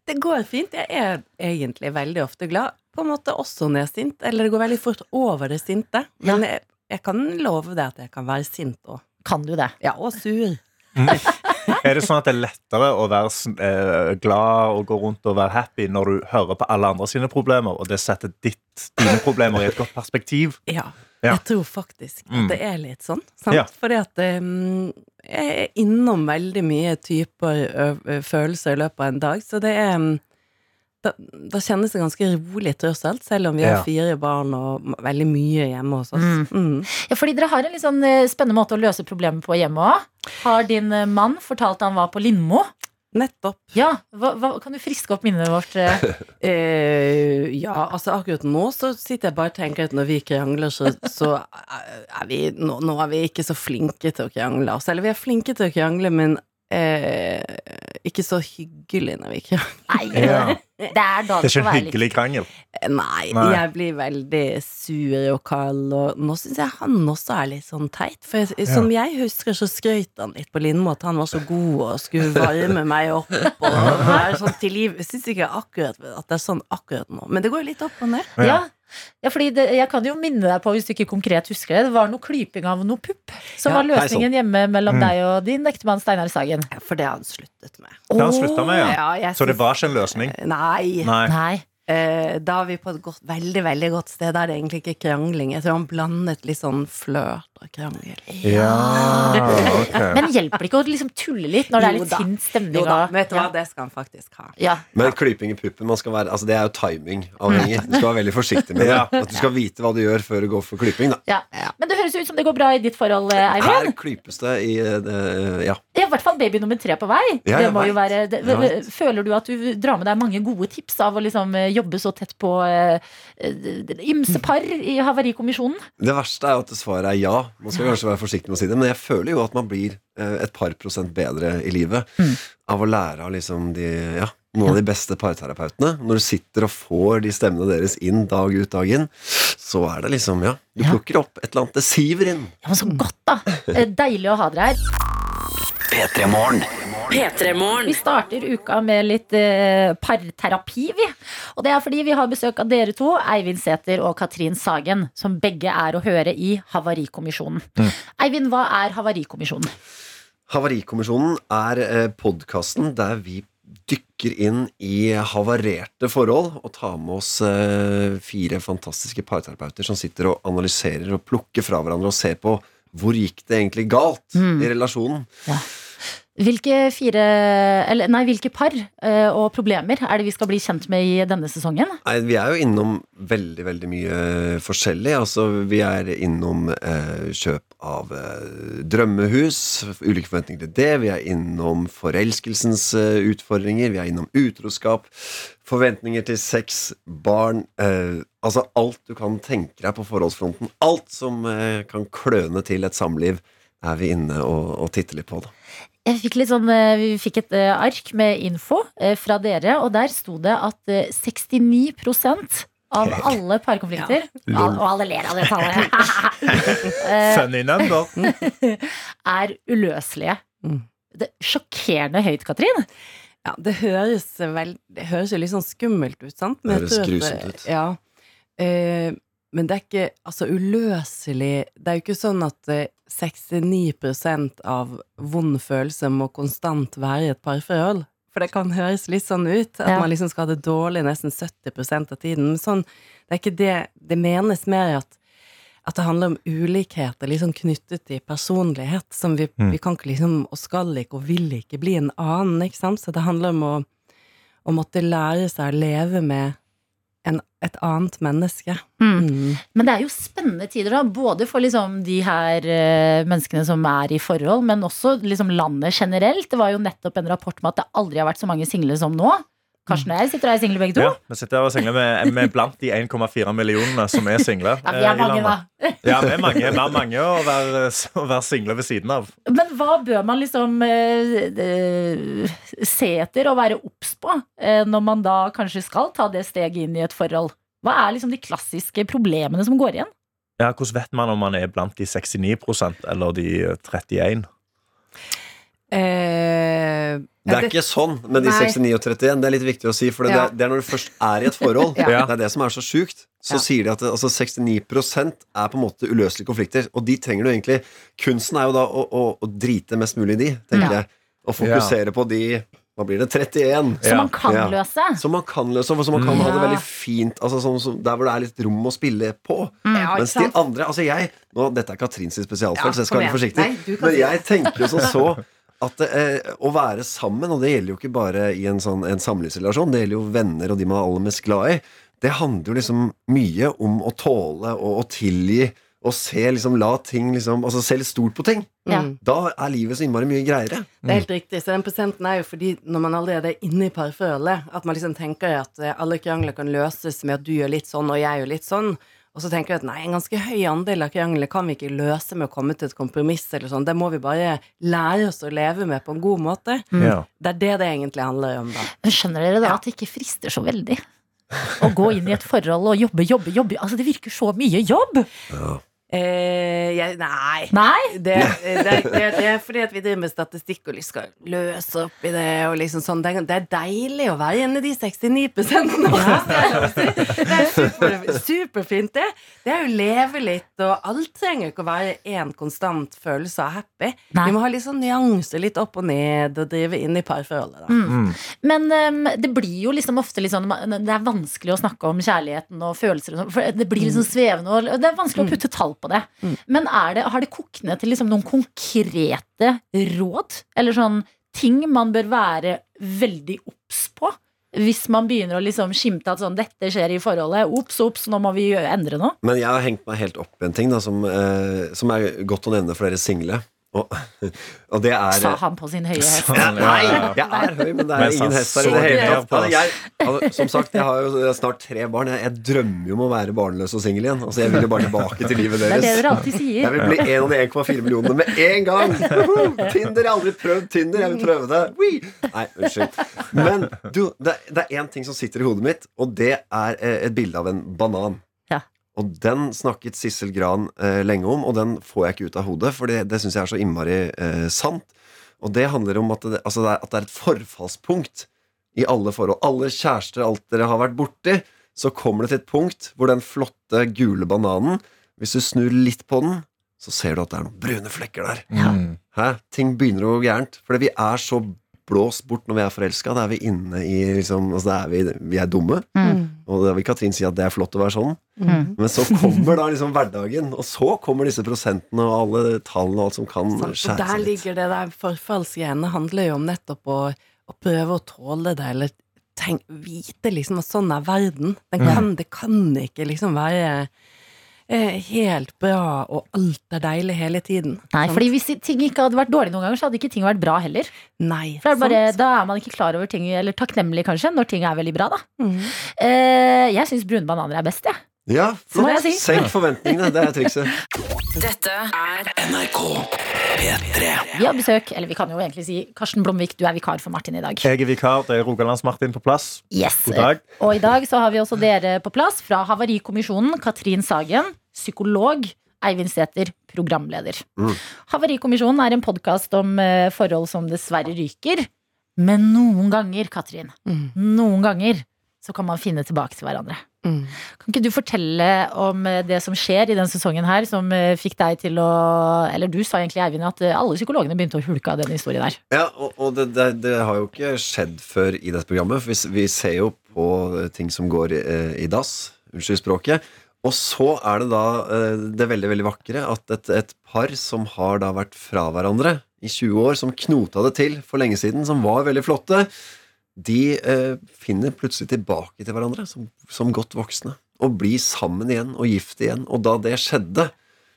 S8: Det går fint. Jeg er egentlig veldig ofte glad. På en måte også når jeg er sint. Eller det går veldig fort over det sinte. Men jeg, jeg kan love deg at jeg kan være sint òg.
S2: Kan du det?
S8: Ja, og sur.
S3: Er det sånn at det er lettere å være sn- eh, glad og gå rundt og være happy når du hører på alle andre sine problemer, og det setter ditt, dine problemer i et godt perspektiv?
S8: Ja.
S3: Ja.
S8: Jeg tror faktisk
S3: Mm.
S8: at det er litt sånn. Sant?
S3: Ja.
S8: Fordi at um, jeg er innom veldig mye typer ø- ø- følelser i løpet av en dag. Så det er um, da, da kjennes det ganske rolig tross alt, selv om vi
S3: Ja.
S8: har fire barn og m- veldig mye hjemme hos oss.
S2: Mm.
S8: Mm.
S2: Ja, fordi dere har en litt sånn eh, spennende måte å løse problemet på hjemme òg. Har din eh, mann fortalt at han var på Lindmo?
S8: Nettopp.
S2: Ja, hva, hva, Kan du friske opp minnet vårt? eh?
S8: Eh, ja, altså akkurat nå så sitter jeg bare og tenker at når vi krangler, så, så er vi nå, nå er vi ikke så flinke til å krangle. Altså, eller vi er flinke til å krangle, men eh, ikke så hyggelig når vi krangler.
S2: Nei,
S3: Ja.
S2: det er da
S3: Det er ikke
S2: skal
S3: en
S2: være litt-
S3: hyggelig krangel.
S8: Nei,
S3: Nei.
S8: jeg blir veldig sur og kald, og nå syns jeg han også er litt sånn teit. For jeg, som jeg husker, så skrøt han litt på Lindmo at han var så god og skulle varme meg opp. Og være sånn til liv. Jeg syns ikke akkurat at det er sånn akkurat nå, men det går jo litt opp og ned.
S3: Ja.
S2: Ja. ja, fordi det, Jeg kan jo minne deg på hvis du ikke konkret husker det Det var noe klyping av noe pupp Som
S7: Ja,
S2: var løsningen hjemme
S3: Mm.
S2: mellom deg og din ektemann Steinar Sagen
S8: Ja, For det har han sluttet med.
S3: Det har han sluttet med, ja.
S8: jeg
S3: Så det
S8: syns-
S3: var ikke en løsning?
S8: Nei.
S3: Nei.
S2: Nei,
S8: Eh, da er vi på et godt, veldig veldig godt sted. Da er det egentlig ikke krangling. Jeg tror han blandet litt sånn flørt og krangel.
S3: Ja, ok.
S2: Men hjelper det ikke å liksom tulle litt Når det er
S8: Jo
S2: litt
S8: da.
S2: sint stemning
S8: Jo da,
S2: og-
S8: vet du
S2: ja.
S8: hva, det skal han faktisk ha.
S2: Ja.
S7: Men klyping i puppen man skal være, altså det er jo timing-avhengig. Du skal være veldig forsiktig med det.
S3: Ja.
S7: At du skal vite hva du gjør før du går for klyping. da
S2: Ja. Men det høres jo ut som det går bra i ditt forhold, eh, Eivind
S7: Her klypes det i eh, det- Ja.
S2: Ja, I hvert fall baby nummer tre på vei
S7: Ja,
S2: det
S7: jeg
S2: må jo
S7: vet.
S2: være, det,
S7: Jeg vet.
S2: Føler du at du drar med deg mange gode tips Av å liksom eh, jobbe så tett på eh, eh, Imsepar i havarikommisjonen
S7: Det verste er jo at svaret er ja. Man skal kanskje være forsiktig med å si det, men jeg føler jo at man blir eh, et par prosent bedre i livet av å lære av liksom de ja, noen av de beste parterapeutene. Når du sitter og får de stemmene deres inn dag ut dag inn, så er det liksom Ja, du
S2: Ja.
S7: plukker opp et eller annet. Det siver inn.
S2: Ja, men så godt da Eh, Deilig å ha dere her
S1: P3 Morgen.
S2: Vi
S4: P3-morgen.
S2: starter uka med litt eh, parterapi, vi. Og det er fordi vi har besøk av dere to, Eivind Sæther og Katrin Sagen, som begge er å høre i Havarikommisjonen.
S7: Mm.
S2: Eivind, hva er Havarikommisjonen?
S7: Havarikommisjonen er eh, podkasten der vi dykker inn i havarerte forhold og tar med oss eh, fire fantastiske parterapeuter som sitter og analyserer og plukker fra hverandre og ser på hvor gikk det egentlig galt i relasjonen.
S2: Hvilke fire, eller nei, hvilke par eh, og problemer er det vi skal bli kjent med i denne sesongen?
S7: Nei, vi er jo innom veldig, veldig mye forskjellig. Altså, vi er innom eh, kjøp av eh, drømmehus, ulike forventninger til det. Vi er innom forelskelsens eh, utfordringer. Vi er innom utroskap, forventninger til sex, barn eh, Altså alt du kan tenke deg på forholdsfronten. Alt som eh, kan kløne til et samliv, er vi inne og, og titter litt på. Da.
S2: Jeg fikk litt sånn, eh, vi fikk et eh, ark med info eh, fra dere, og der sto det at eh, 69 av alle parkonflikter Al- Og alle ler av det tallet. eh,
S3: Funny number.
S2: er uløselige.
S8: Mm.
S2: Det er sjokkerende høyt, Katrin.
S8: Ja, det høres, vel, det høres jo litt sånn skummelt ut, sant?
S7: Det
S8: jeg
S7: høres
S8: tror at det-
S7: grusomt ut.
S8: Ja. Eh, men det er ikke altså, uløselig Det er jo ikke sånn at eh, 69 av vond følelse må konstant være i et parforhold. For det kan høres litt sånn ut, at
S2: Ja.
S8: man liksom skal ha det dårlig nesten 70 av tiden. Men sånn, det er ikke det det menes mer at at det handler om ulikheter liksom knyttet til personlighet. Som vi, vi kan ikke liksom, og skal ikke og vil ikke bli en annen. ikke sant? Så det handler om å, å måtte lære seg å leve med en, et annet menneske. Mm.
S2: Men det er jo spennende tider, da. Både for liksom de her eh, menneskene som er i forhold, men også liksom landet generelt. Det var jo nettopp en rapport med at det aldri har vært så mange single som nå. Karsten og jeg sitter og er single begge to.
S3: Ja, vi sitter her og singler med, med blant de 1,4 millionene som er single.
S2: Ja, vi
S3: eh, i
S2: er mange,
S3: landet.
S2: da.
S3: Ja, vi er mange, vi er mange å være, å være single ved siden av.
S2: Men hva bør man liksom eh, eh, se etter og være obs på eh, når man da kanskje skal ta det steget inn i et forhold? Hva er liksom de klassiske problemene som går igjen?
S3: Ja, Hvordan vet man om man er blant de 69 eller de 31?
S8: Eh,
S7: Det
S8: ja,
S7: er
S8: det-
S7: ikke sånn med de
S8: Nei.
S7: 69 og 31. Det er litt viktig å si, for det,
S8: Ja.
S7: er, det er når du først er i et forhold.
S3: Ja.
S7: Det er det som er så sjukt. Så
S8: Ja.
S7: sier de at det, altså 69 er på en måte uløselige konflikter, og de trenger du egentlig. Kunsten er jo da å, å, å drite mest mulig i de, tenker
S2: Ja.
S7: jeg. Og fokusere på de Hva blir det? 31.
S2: Som man kan
S7: Ja.
S2: løse?
S7: Som man kan løse, og som man kan ha det
S2: Ja.
S7: veldig fint altså, som, som, Der hvor det er litt rom å spille på.
S8: Mm. ja, ikke
S7: Mens de
S8: sant?
S7: andre altså jeg, nå, Dette er Katrins spesialfelt,
S8: Ja,
S7: så jeg skal
S8: kom
S7: være
S8: igjen.
S7: forsiktig.
S8: Nei, du kan
S7: men
S8: si det.
S7: jeg tenker jo som så at eh, å være sammen, og det gjelder jo ikke bare i en, sånn, en samlivsrelasjon, det gjelder jo venner og de man er aller mest glad i, det handler jo liksom mye om å tåle og å tilgi og se liksom, la ting liksom, altså se litt stort på ting.
S2: Ja.
S8: Mm.
S7: Da er livet så innmari mye greiere.
S8: Det er helt riktig. Så den prosenten er jo fordi når man allerede er inne i parforholdet, at man liksom tenker at eh, alle krangler kan løses med at du gjør litt sånn og jeg gjør litt sånn. Og så tenker jeg at nei, en ganske høy andel av krangler kan vi ikke løse med å komme til et kompromiss eller sånn. Det må vi bare lære oss å leve med på en god måte.
S2: Mm.
S7: Mm.
S3: Ja.
S8: Det er det det egentlig handler om, da.
S2: Men skjønner dere da at det ikke frister så veldig? Å gå inn i et forhold og jobbe, jobbe, jobbe. Altså, det virker så mye jobb!
S8: Eh, jeg, nei.
S2: Nei?
S8: Det, det, det, det er fordi at vi driver med statistikk og liksom skal løse opp i det. Og liksom sånn. det, er- det er deilig å være inne i de 69 også. Det er super, superfint, det. Det er jo leve litt, og alt trenger ikke å være én konstant følelse av happy.
S2: Nei.
S8: Vi må ha litt sånn nyanser, litt opp og ned, og drive inn i parforholdet. Da.
S2: Men em, det blir jo liksom ofte litt sånn Det er vanskelig å snakke om kjærligheten og følelser og sånn, for det blir liksom svevende, og det er vanskelig å putte tall på det. Men er det, har det kokt ned til liksom noen konkrete råd? Eller sånn ting man bør være veldig obs på? Hvis man begynner å liksom skimte at sånn, dette skjer i forholdet, ops, ops, nå må vi gjø- endre noe.
S7: Men jeg har hengt meg helt opp i en ting da, som, eh, som er godt å nevne for dere single. Og, og det er
S2: Sa han på sin høye hest.
S7: Nei, jeg er høy, men det er
S3: Mens han
S7: ingen hest her i
S3: så
S7: det hele
S3: ned
S7: tatt.
S3: på
S7: Altså, jeg, altså, som sagt, jeg har jo snart tre barn. Jeg, jeg drømmer jo om å være barnløs og singel igjen. Altså, jeg vil jo bare tilbake til livet
S2: Det er det
S7: deres.
S2: dere alltid sier.
S7: Jeg vil bli en av de 1,4 millionene med en gang! Woohoo! Tinder! Jeg har aldri prøvd Tinder. Jeg vil prøve det. Wee! Nei, unnskyld. Men du, det, det er én ting som sitter i hodet mitt, og det er eh, et bilde av en banan.
S2: Ja.
S7: Og den snakket Sissel Gran eh, lenge om, og den får jeg ikke ut av hodet, for det, det syns jeg er så innmari eh, sant. Og det handler om at det, altså det, er, at det er et forfallspunkt i alle forhold. Alle kjærester, alt dere har vært borti, så kommer det til et punkt hvor den flotte gule bananen Hvis du snur litt på den, så ser du at det er noen brune flekker der.
S3: Mm.
S7: Hæ? Ting begynner å gå gærent. Fordi vi er så blåst bort når vi er forelska. Da er vi inne i liksom, altså da er vi, vi er dumme.
S2: mm,
S7: Og da vil Katrin si at det er flott å være sånn.
S8: Mm.
S7: Men så kommer da liksom hverdagen, og så kommer disse prosentene og alle tallene og alt som
S2: Mm,
S7: kan
S8: Sant, og
S7: skjære
S8: der
S7: seg litt.
S8: ligger det der forfallsgreiene. handler jo om nettopp å, å prøve å tåle det, eller tenk, vite liksom at sånn er verden. Den
S2: Mm.
S8: kan, Det kan ikke liksom være eh, helt bra, og alt er deilig hele tiden. Sånn,
S2: Nei,
S8: Sant?
S2: fordi Hvis ting ikke hadde vært dårlig noen ganger, så hadde ikke ting vært bra heller.
S8: Nei,
S2: For det er bare,
S8: sant?
S2: da er man ikke klar over ting, eller takknemlig kanskje, når ting er veldig bra. da
S8: Mm.
S2: eh, Jeg syns brune bananer er best, jeg.
S7: Ja,
S2: Må jeg
S7: flott.
S2: si?
S7: Senk forventningene, det er trikset.
S4: Dette er
S1: NRK P3
S2: Vi har besøk, eller vi kan jo egentlig si Karsten Blomvik, du er vikar for Martin i dag.
S3: Jeg er vikar. Det er Rogalands-Martin på plass.
S2: Yes.
S3: Eh, God dag.
S2: Og i dag så har vi også dere på plass fra Havarikommisjonen, Katrin Sagen, psykolog. Eivind Sæther, programleder.
S7: Mm.
S2: Havarikommisjonen er en podkast om eh, forhold som dessverre ryker. Men noen ganger, Katrin,
S8: Mm.
S2: noen ganger så kan man finne tilbake til hverandre.
S8: Mm.
S2: Kan ikke du fortelle om eh, det som skjer i den sesongen her, som eh, fikk deg til å Eller du sa egentlig, Eivind, at eh, alle psykologene begynte å hulke av den historien der.
S7: Ja, og, og det, det, det har jo ikke skjedd før i dette programmet. For vi, s- vi ser jo på eh, ting som går eh, i dass. Unnskyld språket. Og så er det da eh, det veldig veldig vakre at et, et par som har da vært fra hverandre i 20 år, som knota det til for lenge siden, som var veldig flotte, de eh, finner plutselig tilbake til hverandre som, som godt voksne. Og blir sammen igjen og gift igjen. Og da det skjedde,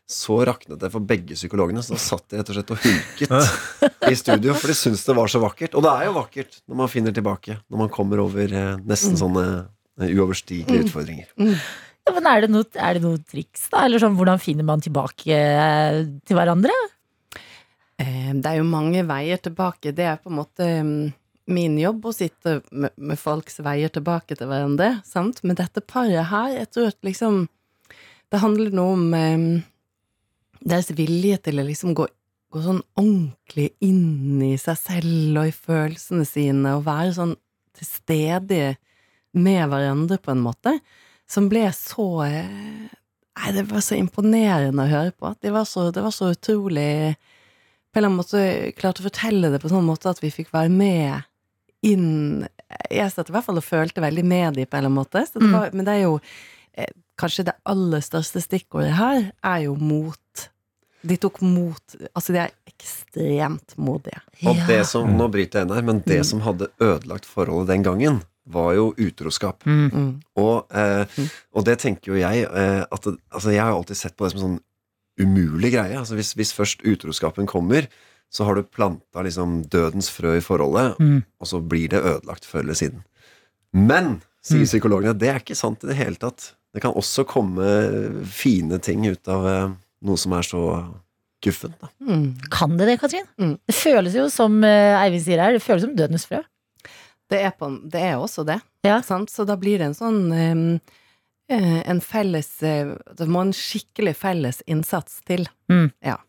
S7: så raknet det for begge psykologene. Så da satt de rett og slett og hulket i studio, for de syns det var så vakkert. Og det er jo vakkert når man finner tilbake, når man kommer over eh, nesten sånne eh, uoverstigelige utfordringer.
S8: Mm.
S2: Ja, men er det, noe, er det noe triks, da? Eller sånn, hvordan finner man tilbake eh, til hverandre?
S8: Eh, Det er jo mange veier tilbake. Det er på en måte mm, min jobb å sitte med, med folks veier tilbake til hverandre. Sant? Men dette paret her, jeg tror at liksom Det handler noe om eh, deres vilje til å liksom gå, gå sånn ordentlig inn i seg selv og i følelsene sine, og være sånn til stede med hverandre, på en måte, som ble så eh, Nei, det var så imponerende å høre på. Det var så, det var så utrolig på en eller annen måte klarte å fortelle det på sånn måte at vi fikk være med inn Jeg satt i hvert fall og følte veldig med de på en eller annen måte. Så det
S2: Mm.
S8: var, Men det er jo eh, kanskje det aller største stikkordet her er jo mot. De tok mot Altså, de er ekstremt modige.
S7: Og
S2: Ja.
S7: det som, nå bryter jeg inn her, men det som hadde ødelagt forholdet den gangen, var jo utroskap.
S2: Mm.
S8: Mm.
S7: Og, eh,
S8: Mm.
S7: og det tenker jo jeg eh, at det, altså Jeg har jo alltid sett på det som en sånn umulig greie. Altså hvis, hvis først utroskapen kommer, så har du planta liksom dødens frø i forholdet,
S2: Mm.
S7: og så blir det ødelagt før eller siden. Men, sier psykologene, det er ikke sant i det hele tatt. Det kan også komme fine ting ut av eh, noe som er så guffent. Da.
S8: Mm.
S2: Kan det det, Katrin?
S8: Mm.
S2: Det føles jo som eh, Eivind sier her, det føles som dødens frø.
S8: Det er, på, det er også det.
S2: Ja.
S8: Sant? Så da blir det en sånn em, eh, En felles eh, Det må en skikkelig felles innsats til.
S2: Mm.
S8: Ja.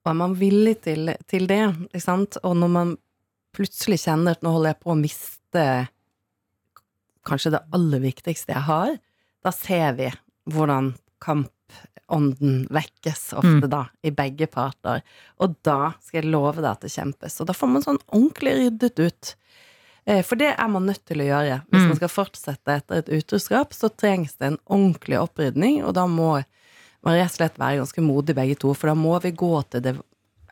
S8: Og er man villig til, til det, ikke sant? og når man plutselig kjenner at nå holder jeg på å miste kanskje det aller viktigste jeg har, da ser vi hvordan kampånden vekkes ofte,
S2: Mm.
S8: da, i begge parter. Og da skal jeg love deg at det kjempes. Og da får man sånn ordentlig ryddet ut. Eh, For det er man nødt til å gjøre. Hvis
S2: Mm.
S8: man skal fortsette etter et utroskap, så trengs det en ordentlig opprydning, og da må man rett og slett være ganske modig begge to, for da må vi gå til det,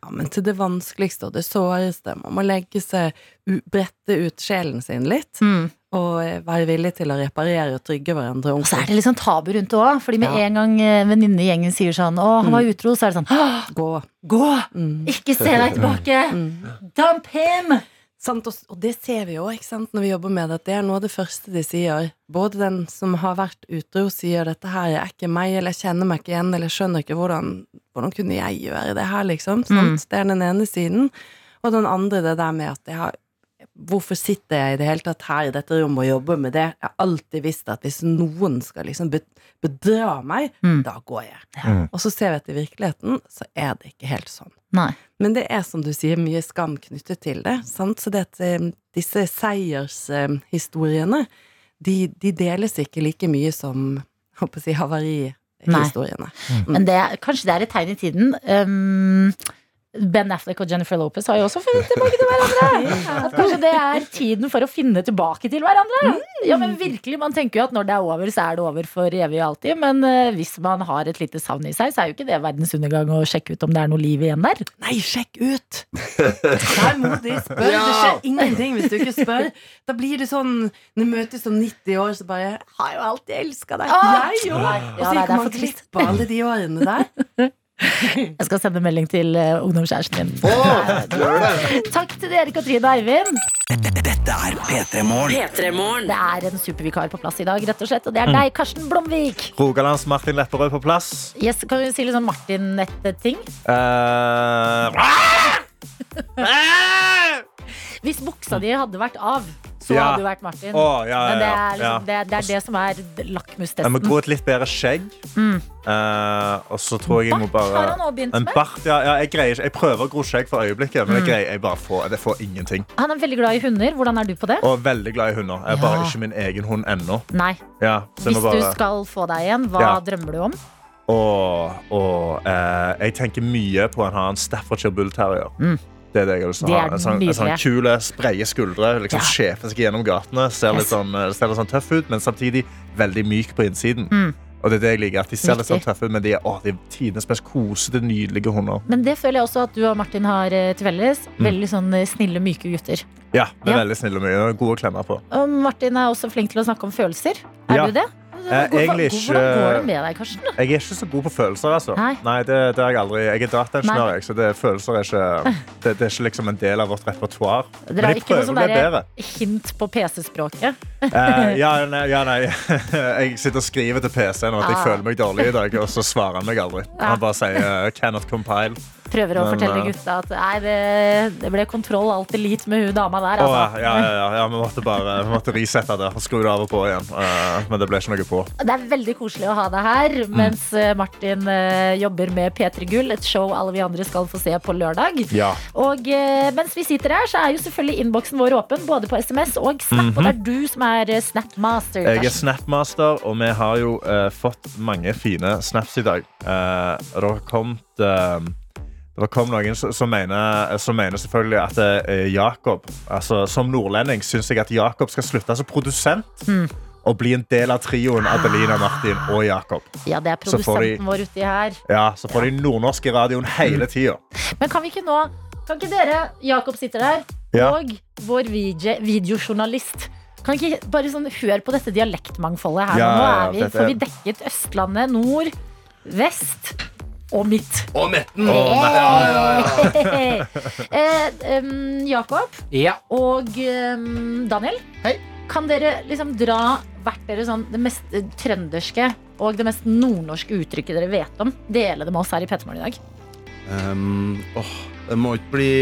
S8: ja, men til det vanskeligste og det såreste. Man må legge seg, u- brette ut sjelen sin litt,
S2: Mm.
S8: og eh, være villig til å reparere og trygge hverandre
S2: Og så er
S8: ordentlig.
S2: det litt sånn tabu rundt det òg, fordi med
S8: Ja. Mm.
S2: en gang eh, en venninne i gjengen sier sånn 'Å, han var utro', så er det sånn «Åh,
S8: Gå.
S2: Gå!
S8: Mm.
S2: Ikke se deg tilbake! Dump him!
S8: Sant, og, s- og det ser vi jo ikke sant, når vi jobber med det, at det er noe av det første de sier. Både den som har vært utro, sier 'dette her er ikke meg', eller 'jeg kjenner meg ikke igjen', eller 'skjønner ikke hvordan, hvordan kunne jeg gjøre det her', liksom. Sant? Det er den ene siden. Og den andre det der med at jeg har Hvorfor sitter jeg i det hele tatt her i dette rommet og jobber med det? Jeg har alltid visst at hvis noen skal liksom be- bedra meg,
S2: Mm.
S8: da går jeg.
S3: Mm.
S8: Og så ser vi at i virkeligheten så er det ikke helt sånn.
S2: Nei.
S8: Men det er, som du sier, mye skam knyttet til det. Sant? Så det at eh, disse seiershistoriene, de, de deles ikke like mye som jeg håper å si, havarihistoriene.
S2: Men det, kanskje det er et tegn i tiden. Um, ben Affleck og Jennifer Lopez har jo også funnet tilbake til hverandre. At kanskje det er tiden for å finne tilbake til hverandre.
S8: Mm.
S2: Ja, men virkelig, Man tenker jo at når det er over, så er det over for evig og alltid. Men eh, hvis man har et lite savn i seg, så er jo ikke det verdens undergang å sjekke ut om det er noe liv igjen der.
S8: Nei, sjekk ut! Vær modig, spør. Det skjer ingenting hvis du ikke spør. Da blir det sånn Når du møtes om 90 år, så bare 'Har jo alltid elska deg'.
S2: Ah!
S8: Jeg jo! Og
S2: Ja,
S8: så
S2: nei, det
S8: gikk
S2: er
S8: man
S2: for trist.
S8: glipp av alle de årene der.
S2: Jeg skal sende melding til eh, ungdomskjæresten min. Takk til dere, Katrine og Eivind.
S1: Dette er P3 Morgen.
S4: P3-morgen.
S2: Det er en supervikar på plass i dag, rett og slett. Og
S8: Mm.
S2: det er deg, Karsten Blomvik.
S3: Rogalands Martin Lepperød på plass.
S2: Yes, kan du si litt sånn Martin-nett-ting?
S3: Eh,
S2: Hvis buksa di hadde vært av, så
S3: Ja.
S2: hadde du vært Martin.
S3: Å, ja, ja,
S2: Men det
S3: ja,
S2: er, liksom, det, det er det som er d-
S3: jeg må
S2: lakmustesten.
S3: gro et litt bedre skjegg. Eh, og så tror jeg jeg må
S2: Mm. Bart har
S3: bare
S2: han også begynt
S3: en
S2: med. Mm.
S3: bart, ja, ja, jeg, greier ikke. jeg prøver å gro skjegg for øyeblikket, men jeg, greier, jeg bare får, det får ingenting.
S2: Han er veldig glad i hunder. Hvordan er du på det?
S3: Og er veldig glad i hunder. Jeg er bare
S2: Ja.
S3: ikke min egen hund ennå.
S2: Nei.
S3: Ja, så jeg
S2: Hvis
S3: må bare...
S2: du skal få deg en, hva
S3: Ja.
S2: drømmer du om?
S3: Og, og eh, jeg tenker mye på å ha en Staffordshire Bull Terrier.
S2: Mm.
S3: Det er det jeg har lyst til
S2: Det
S3: å
S2: er
S3: ha. En sånn, en sånn
S2: nydelig.
S3: kule, spreie skuldre, liksom
S2: Ja.
S3: sjefer seg gjennom gatene. Ser litt
S2: Yes.
S3: sånn, eh, ser litt sånn tøff ut, men samtidig veldig myk på innsiden.
S2: Mm.
S3: Og det er det jeg liker, at De ser litt
S2: Riktig.
S3: sånn tøffe ut, men de er, å, de er tidenes mest kosete, nydelige hunder.
S2: Men det føler jeg også at du og Martin har eh, til felles.
S3: Mm.
S2: Veldig sånn eh, snille, myke gutter.
S3: Ja, de er
S2: Ja.
S3: veldig snille og mye. og Gode å klemme på.
S2: Og Martin er også flink til å snakke om følelser. Er
S3: Ja.
S2: du det?
S3: Eh, egentlig
S2: Hvordan- Hvordan går
S3: ikke-
S2: det med deg, Karsten?
S3: Jeg er ikke så god på følelser. altså.
S2: Nei.
S3: det, det er Jeg aldri. Jeg er dataingeniør,
S2: Nei.
S3: jeg, så det, følelser er ikke, det, det er ikke liksom en del av vårt repertoar. Men
S2: Dere har
S3: jeg
S2: ikke noe
S3: prøver å
S2: sånn
S3: bli
S2: derre
S3: bedre.
S2: hint på PC-språket?
S3: Eh, ja, nei, ja, nei. Jeg sitter og skriver til PC-en om at jeg
S2: Ah.
S3: føler meg dårlig i dag, og så svarer han meg aldri. Han bare sier eh, 'cannot compile'.
S2: Prøver å
S3: Men,
S2: fortelle
S3: eh,
S2: gutta at nei, det, det ble kontroll alt elite med hun dama der.
S3: Å,
S2: Altså.
S3: ja, ja, ja, ja, vi måtte bare vi måtte resette det og skru det av og på igjen. Eh, men det ble ikke noe på.
S2: Det er veldig koselig å ha deg her,
S3: Mm.
S2: mens eh, Martin eh, jobber med P3 Gull, et show alle vi andre skal få se på lørdag.
S3: Ja.
S2: Og eh, mens vi sitter her, så er jo selvfølgelig innboksen vår åpen, både på SMS og Snap. Og det er du som er eh, Snapmaster.
S3: Mhm. Jeg er
S2: Karsten.
S3: Snapmaster, og vi har jo eh, fått mange fine snaps i dag. Eh, og det har kommet eh, det var kom noen som, som, mener, som mener selvfølgelig at eh, Jakob altså, Som nordlending syns jeg at Jakob skal slutte som produsent
S2: Hmm.
S3: og bli en del av trioen
S2: Ah.
S3: Adelina, Martin og Jakob.
S2: Ja, det er
S3: Så får de-
S2: produsenten vår uti her.
S3: Ja, Så får de nordnorsk i radioen
S2: Hmm.
S3: hele tida.
S2: Men kan vi ikke nå Kan ikke dere, Jakob sitter der,
S3: Ja.
S2: og vår vide- videojournalist kan ikke bare sånn, Hør på dette dialektmangfoldet her.
S3: Ja,
S2: nå
S3: ja, ja,
S2: er vi,
S3: dette er-
S2: får vi dekket Østlandet, nord, vest og midt.
S5: Og metten!
S2: eh, em, Jakob
S5: Ja.
S2: og em, Daniel,
S5: Hei.
S2: kan dere liksom dra hvert dere sånn det mest eh, trønderske og det mest nordnorske uttrykket dere vet om? Dele det med oss her i Petermorgen i dag.
S9: Um, åh, det må ikke bli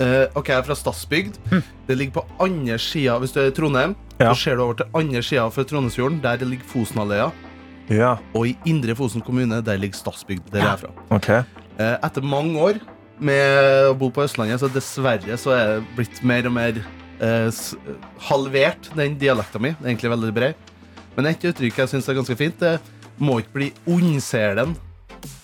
S9: Eh, OK, jeg er fra Stadsbygd. Det ligger på andre sida Hvis du er i Trondheim,
S3: Ja.
S9: så ser du over til andre sida for Trondheimsfjorden. Der det ligger Fosenhalvøya.
S3: Ja,
S9: Og i Indre Fosen kommune, der ligger Stadsbygd. Der jeg er fra.
S3: ok
S9: Eh, etter mange år med å bo på Østlandet, så dessverre så er det blitt mer og mer eh, s- halvert, den dialekta mi. Det er egentlig veldig bred. Men et uttrykk jeg syns er ganske fint, det er må ikke bli ondselen.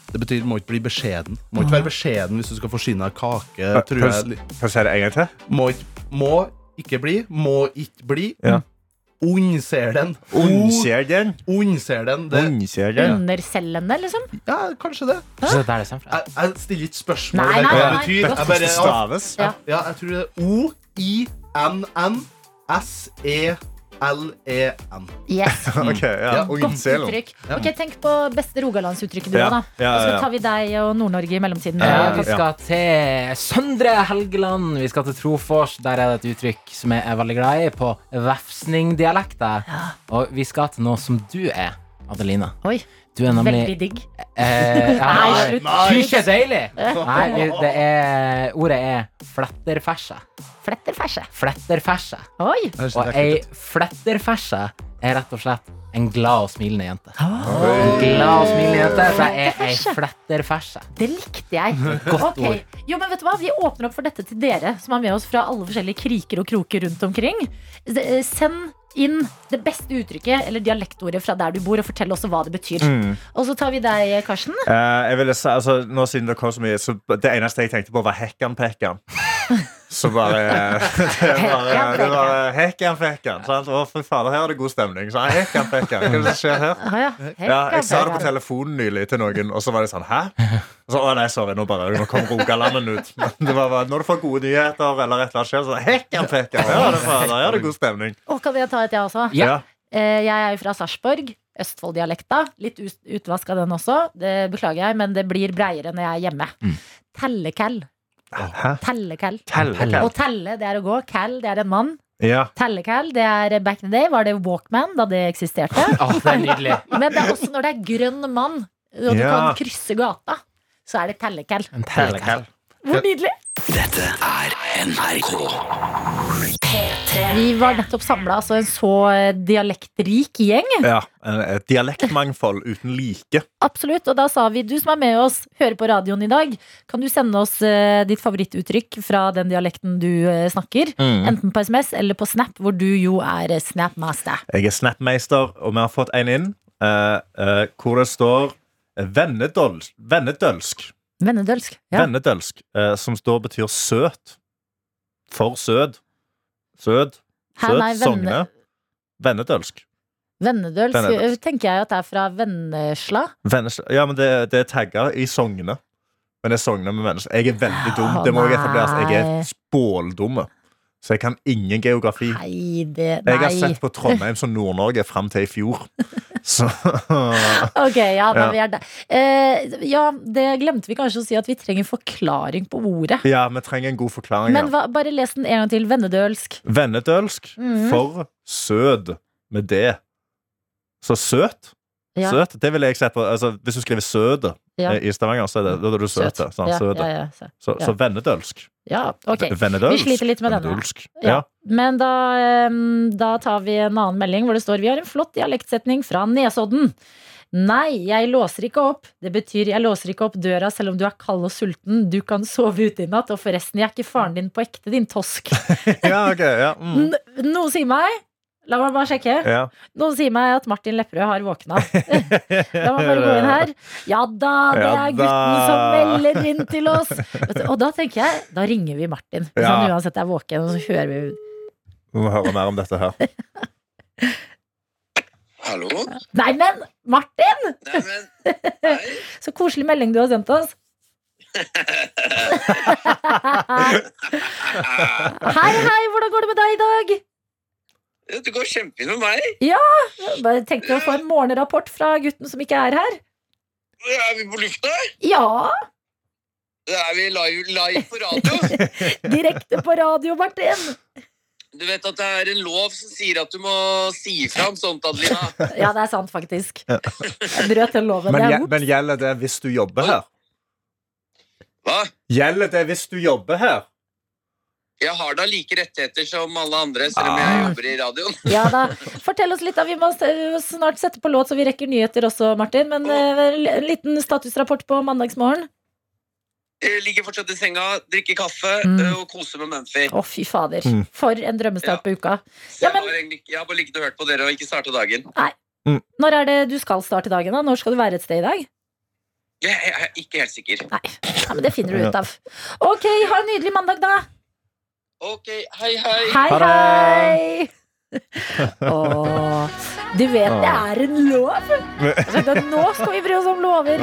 S9: Det betyr må ikke bli beskjeden. Må ikke være beskjeden hvis du skal forsyne deg kake. Tror jeg.
S3: Kan du si det en gang til?
S9: Må ikke, må ikke bli. Må ikke bli.
S3: Ja.
S9: Ondselen.
S3: Ondkjelen.
S9: Ondselen. Det,
S3: Ondkjelen.
S2: Underselgende, liksom?
S9: ja, kanskje det.
S5: Så det er der det kommer fra.
S9: Jeg, jeg stiller ikke spørsmål
S2: Nei,
S9: ved hva
S2: nei,
S9: det
S2: nei,
S9: betyr.
S2: godt.
S9: Jeg bare, ja,
S3: Staves.
S2: Ja.
S9: Ja, jeg tror det er E O-I-N-N-S-E-L-E-N.
S2: Yes.
S3: Ok, ja.
S2: Godt
S3: Ondkjelen.
S2: uttrykk. Ok, Tenk på beste rogalandsuttrykket du
S3: Ja,
S2: har, da.
S3: ja,
S2: Og så
S3: ja.
S2: tar vi deg og Nord-Norge i mellomtiden.
S5: Eh, vi
S2: Jakob.
S5: skal til Søndre Helgeland. Vi skal til Trofors. Der er det et uttrykk som jeg er veldig glad i, på vefsningdialekta. Og vi skal til noe som du er. Adelina.
S2: Oi,
S5: Du er
S2: veldig
S5: nemlig
S2: digg.
S5: eh,
S2: Nei, slutt.
S5: Du er ikke deilig! Nei,
S2: Eh,
S5: det er, ordet er fletterferse.
S2: Fletterferse.
S5: Fletterferse.
S2: Oi.
S9: Det høres
S5: Og
S9: litt ekkelt
S5: ei
S9: ut.
S5: fletterferse er rett og slett en glad og smilende jente. En glad og smilende jente, for jeg er ei fletterferse.
S2: Det likte jeg.
S5: Godt
S2: Ok.
S5: ord.
S2: Jo, men vet du hva? Vi åpner opp for dette til dere som er med oss fra alle forskjellige kriker og kroker rundt omkring. S- eh, Send inn det beste uttrykket eller dialektordet fra der du bor, og fortell også hva det betyr.
S3: Mm.
S2: Og så tar vi deg, Karsten.
S3: Eh, jeg ville si, altså, nå siden det kom så mye, så det eneste jeg tenkte på, var hekkan-pekkan. Så bare eh, Det var, det var hekkan-pekkan. sant? Å, fy fader, her er det god stemning. Så hekkan-pekkan, hva er det som skjer her?
S2: Ah, ja.
S3: Ja, jeg sa det på telefonen nylig til noen, og så var de sånn Hæ? Og så, Å nei, sorry, nå bare Nå kom Rogalanden ut. Men det var bare, når du får gode nyheter, eller et eller annet skjer, så hekkan-pekkan. Her er det fader, her er det god stemning.
S2: Og kan jeg ta et, jeg også?
S5: Ja.
S2: Eh, Jeg er jo fra Sarpsborg. Østfolddialekta. Litt utvaska den også. Det beklager jeg, men det blir breiere når jeg er hjemme. Tellekell.
S3: Hæ?
S2: Tellekell.
S3: Hell.
S2: Å telle, det er å gå. Kell, det er en mann.
S3: Ja.
S2: Tellekall, det er back in the day, var det Walkman da det eksisterte.
S5: Å, det er nydelig.
S2: Men det er også når det er grønn mann, og du
S3: Ja.
S2: kan krysse gata, så er det tellekall.
S5: En tellekall.
S2: Hvor nydelig!
S1: Dette er NRK.
S2: Vi var nettopp samla, altså en så dialektrik gjeng.
S3: ja. Et dialektmangfold uten like.
S2: Absolutt. Og da sa vi, du som er med oss, hører på radioen i dag, kan du sende oss eh, ditt favorittuttrykk fra den dialekten du eh, snakker? Enten på SMS eller på Snap, hvor du jo er eh, Snapmaster.
S3: Jeg er Snapmeister, og vi har fått en inn eh, eh, hvor det står Vennedøls, vennedølsk.
S2: Vennedølsk. Ja.
S3: Vennedølsk, eh, som står betyr søt. For søt. Søt.
S2: Hæ,
S3: Søt.
S2: nei, venne-
S3: Sogne. Vennedølsk.
S2: Vennedølsk eh,
S3: Vennedølsk.
S2: tenker jeg at det er fra Vennesla.
S3: Vennes- ja, men det, det er tagga i Sogne. Men det er Sogne med mennesker. Jeg er veldig dum. Det må jeg etableres. Jeg
S2: Nei.
S3: er spåldumme. Så jeg kan ingen geografi.
S2: Nei, det
S3: Jeg har
S2: Nei.
S3: sett på Trondheim som Nord-Norge fram til i fjor. Så
S2: Ok, ja, da
S3: Ja.
S2: vi er der. Eh, ja, det glemte vi kanskje å si, at vi trenger forklaring på ordet.
S3: ja, vi trenger en god forklaring.
S2: Men
S3: her.
S2: hva, bare les den en gang til. Vennedølsk.
S3: Vennedølsk
S2: Mhm.
S3: for sød med det. Så søt.
S2: Ja,
S3: Søt, det vil jeg sett på. Altså, hvis du skriver søde
S2: Ja.
S3: eh, i Stavanger, så er det, da er du søte. sant?
S2: ja,
S3: søte.
S2: ja, ja, så.
S3: Så,
S2: ja.
S3: så vennedølsk.
S2: ja, ok.
S3: Vennedølsk.
S2: Vi sliter litt med denne.
S3: Vennedølsk.
S2: Ja.
S3: Ja.
S2: Men da, eh, da tar vi en annen melding hvor det står Vi har en flott dialektsetning fra Nesodden. Nei, jeg låser ikke opp. Det betyr jeg låser ikke opp døra selv om du er kald og sulten. Du kan sove ute i natt. Og forresten, jeg er ikke faren din på ekte, din tosk.
S3: ja, ok. Ja. Mm.
S2: N- Noe sier meg La meg bare sjekke.
S3: ja.
S2: Noen sier meg at Martin Lepperød har våkna. La meg bare gå inn her. Ja da, det
S3: Ja
S2: er gutten
S3: da.
S2: som melder inn til oss. Vet du, Og da tenker jeg, da ringer vi Martin. Hvis
S3: Ja.
S2: han uansett er våken, og så hører vi
S3: Vi må høre mer om dette her.
S1: Hallo?
S2: Nei, men Martin!
S1: Neimen,
S2: Så koselig melding du har sendt oss. Hei, hei, hvordan går det med deg i dag?
S1: det går kjempefint med meg.
S2: Bare tenkte å få en morgenrapport fra gutten som ikke er her.
S1: Er vi på lufta?
S2: Ja,
S1: Er vi live, live på radio?
S2: direkte på radio, Martin.
S1: Du vet at det er en lov som sier at du må si fra om sånt, Adelina.
S2: Ja, det er sant, faktisk. Jeg brøt den loven.
S3: Men,
S2: det er
S3: gje-
S2: vondt.
S3: men gjelder det hvis du jobber her?
S1: Hva?
S3: Gjelder det hvis du jobber her?
S1: Jeg har da like rettigheter som alle andre, selv om
S3: Ah.
S1: jeg jobber i radioen.
S2: Ja da. Fortell oss litt, da. Vi må s- snart sette på låt, så vi rekker nyheter også, Martin. Men eh, en liten statusrapport på mandagsmorgen.
S1: Jeg ligger fortsatt i senga, drikker kaffe
S2: Mm.
S1: øh, og koser med Mumphy.
S2: Å, fy fader.
S3: Mm.
S2: For en drømmestart på uka.
S1: Så
S2: Ja,
S1: jeg,
S2: men-
S1: har egentlig ikke- jeg har bare ligget og hørt på dere og ikke starta dagen.
S2: Når er det du skal starte dagen, da? Når skal du være et sted i dag?
S1: Jeg, jeg er ikke helt sikker.
S2: Nei, Nei men det finner du ut av. Ok, ha en nydelig mandag, da.
S1: Ok, hei, hei.
S2: Hei,
S5: Ha det.
S2: hei. Åh, du vet det er en lov! Altså, da- nå skal vi bry oss om lover.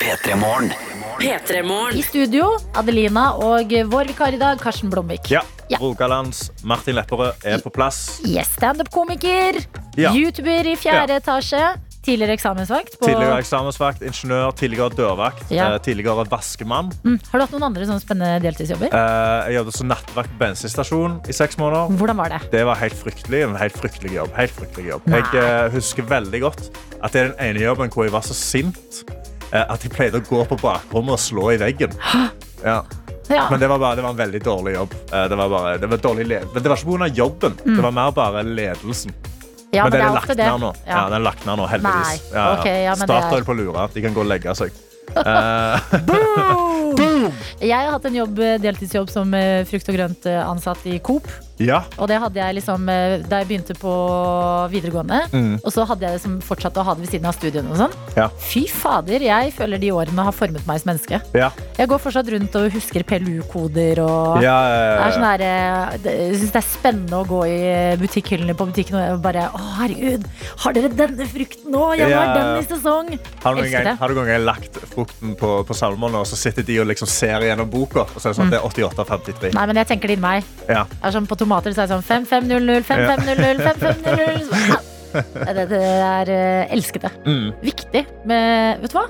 S1: P3-morgen.
S4: P3-morgen.
S2: I studio Adelina og vår vikar i dag, Karsten Blomvik.
S3: Ja.
S2: Ja.
S3: Rogalands Martin Lepperød er på plass.
S2: Yes, Standup-komiker,
S3: Ja.
S2: youtuber i fjerde etasje. Tidligere eksamensvakt. På,
S3: Tidligere eksamensvakt, ingeniør, tidligere dørvakt,
S2: Ja.
S3: eh, tidligere vaskemann.
S2: mm, har du hatt noen andre sånne spennende deltidsjobber?
S3: Eh, jeg jobbet som nattvakt på bensinstasjon i seks måneder.
S2: Hvordan var det?
S3: Det var helt fryktelig. En helt fryktelig jobb. Helt fryktelig jobb. Jeg eh, husker veldig godt at det er den ene jobben hvor jeg var så sint eh, at jeg pleide å gå på bakrommet og slå i veggen. Ja.
S2: Ja.
S3: Men det var, bare, det var en veldig dårlig jobb. Eh, Det var, bare, det var, dårlig led- men det var ikke pga. jobben, det var mer bare ledelsen.
S2: Mm. ja,
S3: men, den er
S2: ofte
S3: lagt ned nå. Ja.
S2: Ja.
S3: den er lagt ned nå, heldigvis.
S2: Nei, ok, ja, men det er-
S3: Statoil på lura. De kan gå og legge seg. Eh,
S2: Jeg har hatt en jobb, eh, deltidsjobb som eh, frukt og grønt eh, ansatt i Coop.
S3: ja.
S2: Og det hadde jeg liksom eh, da jeg begynte på videregående.
S3: Mm.
S2: Og så hadde jeg liksom fortsatt å ha det ved siden av studiene og sånn.
S3: Ja.
S2: Fy fader, jeg føler de årene har formet meg som menneske.
S3: Ja.
S2: Jeg går fortsatt rundt og husker PLU-koder og
S3: Ja,
S2: Det er
S3: eh,
S2: sånn der, eh, det- jeg synes det er spennende å gå i eh, butikkhyllene på butikken og bare Å, herregud, har dere denne frukten nå? Jeg
S3: Ja,
S2: har
S3: ja, ja.
S2: den i sesong.
S3: Har du noen
S2: Elsker
S3: gang,
S2: det.
S3: har du noen gang lagt frukten på, på salmene, og så sitter de og liksom ser gjennom boka, og så er det sånn at det er 88,53?
S2: Mm. Nei, men jeg tenker det inni meg.
S3: Ja.
S2: Det er sånn På tomater så er det sånn 5500, 5500, 5500. Så- Au. Det, det er eh, elsket det.
S3: Mm.
S2: Viktig med Vet du hva?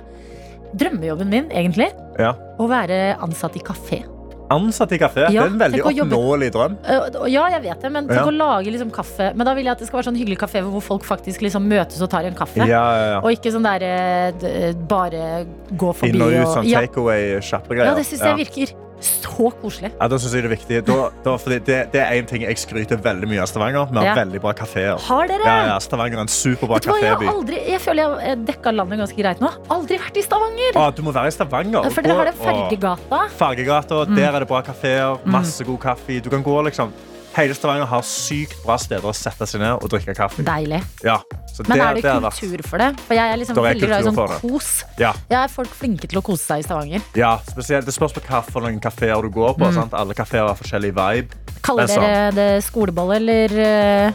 S2: Drømmejobben min, egentlig.
S3: Ja.
S2: Å være ansatt i kafé.
S3: Ansatt i kafé.
S2: Ja,
S3: det er en veldig
S2: tenk å jobbe-
S3: oppnåelig drøm.
S2: Eh, og- Ja, jeg vet det, men tenk
S3: Ja.
S2: å lage liksom kaffe. Men da vil jeg at det skal være sånn hyggelig kafé hvor folk faktisk liksom møtes og tar en kaffe.
S3: Ja, ja, ja.
S2: Og ikke sånn der eh, d- bare gå forbi
S3: Inn og ut, sånn
S2: ja.
S3: takeaway, kjappe greier.
S2: ja, det syns jeg virker så koselig.
S3: Ja, da synes jeg Det er viktig. Da, da, fordi det, det er en ting jeg skryter veldig mye av Stavanger. Vi har
S2: Ja.
S3: veldig bra kafeer.
S2: Har dere?
S3: Ja, ja, Stavanger er en superbra
S2: Vet du hva, jeg, har
S3: kaféby.
S2: aldri, jeg føler jeg har eh, dekka landet ganske greit nå. Aldri vært i Stavanger!
S3: Å, du må være i Stavanger.
S2: For dere har den
S3: Å,
S2: fergegata.
S3: Fargegata,
S2: Mm.
S3: der er det bra kafeer, masse god kaffe. Du kan gå liksom Hele Stavanger har sykt bra steder å sette seg ned og drikke kaffe.
S2: Deilig.
S3: Ja, så
S2: Men
S3: det,
S2: er det
S3: har vært-
S2: kultur for det? For jeg er liksom
S3: Der er
S2: veldig glad i
S3: kultur
S2: sånn
S3: for det.
S2: kos.
S3: Ja,
S2: Ja, er folk flinke til å kose seg i Stavanger?
S3: ja, spesielt Det spørs på hvilke kafeer du går på.
S2: Mm.
S3: Sant? Alle kafeer har forskjellig vibe.
S2: Kaller
S3: Det er
S2: dere det skolebolle eller eh,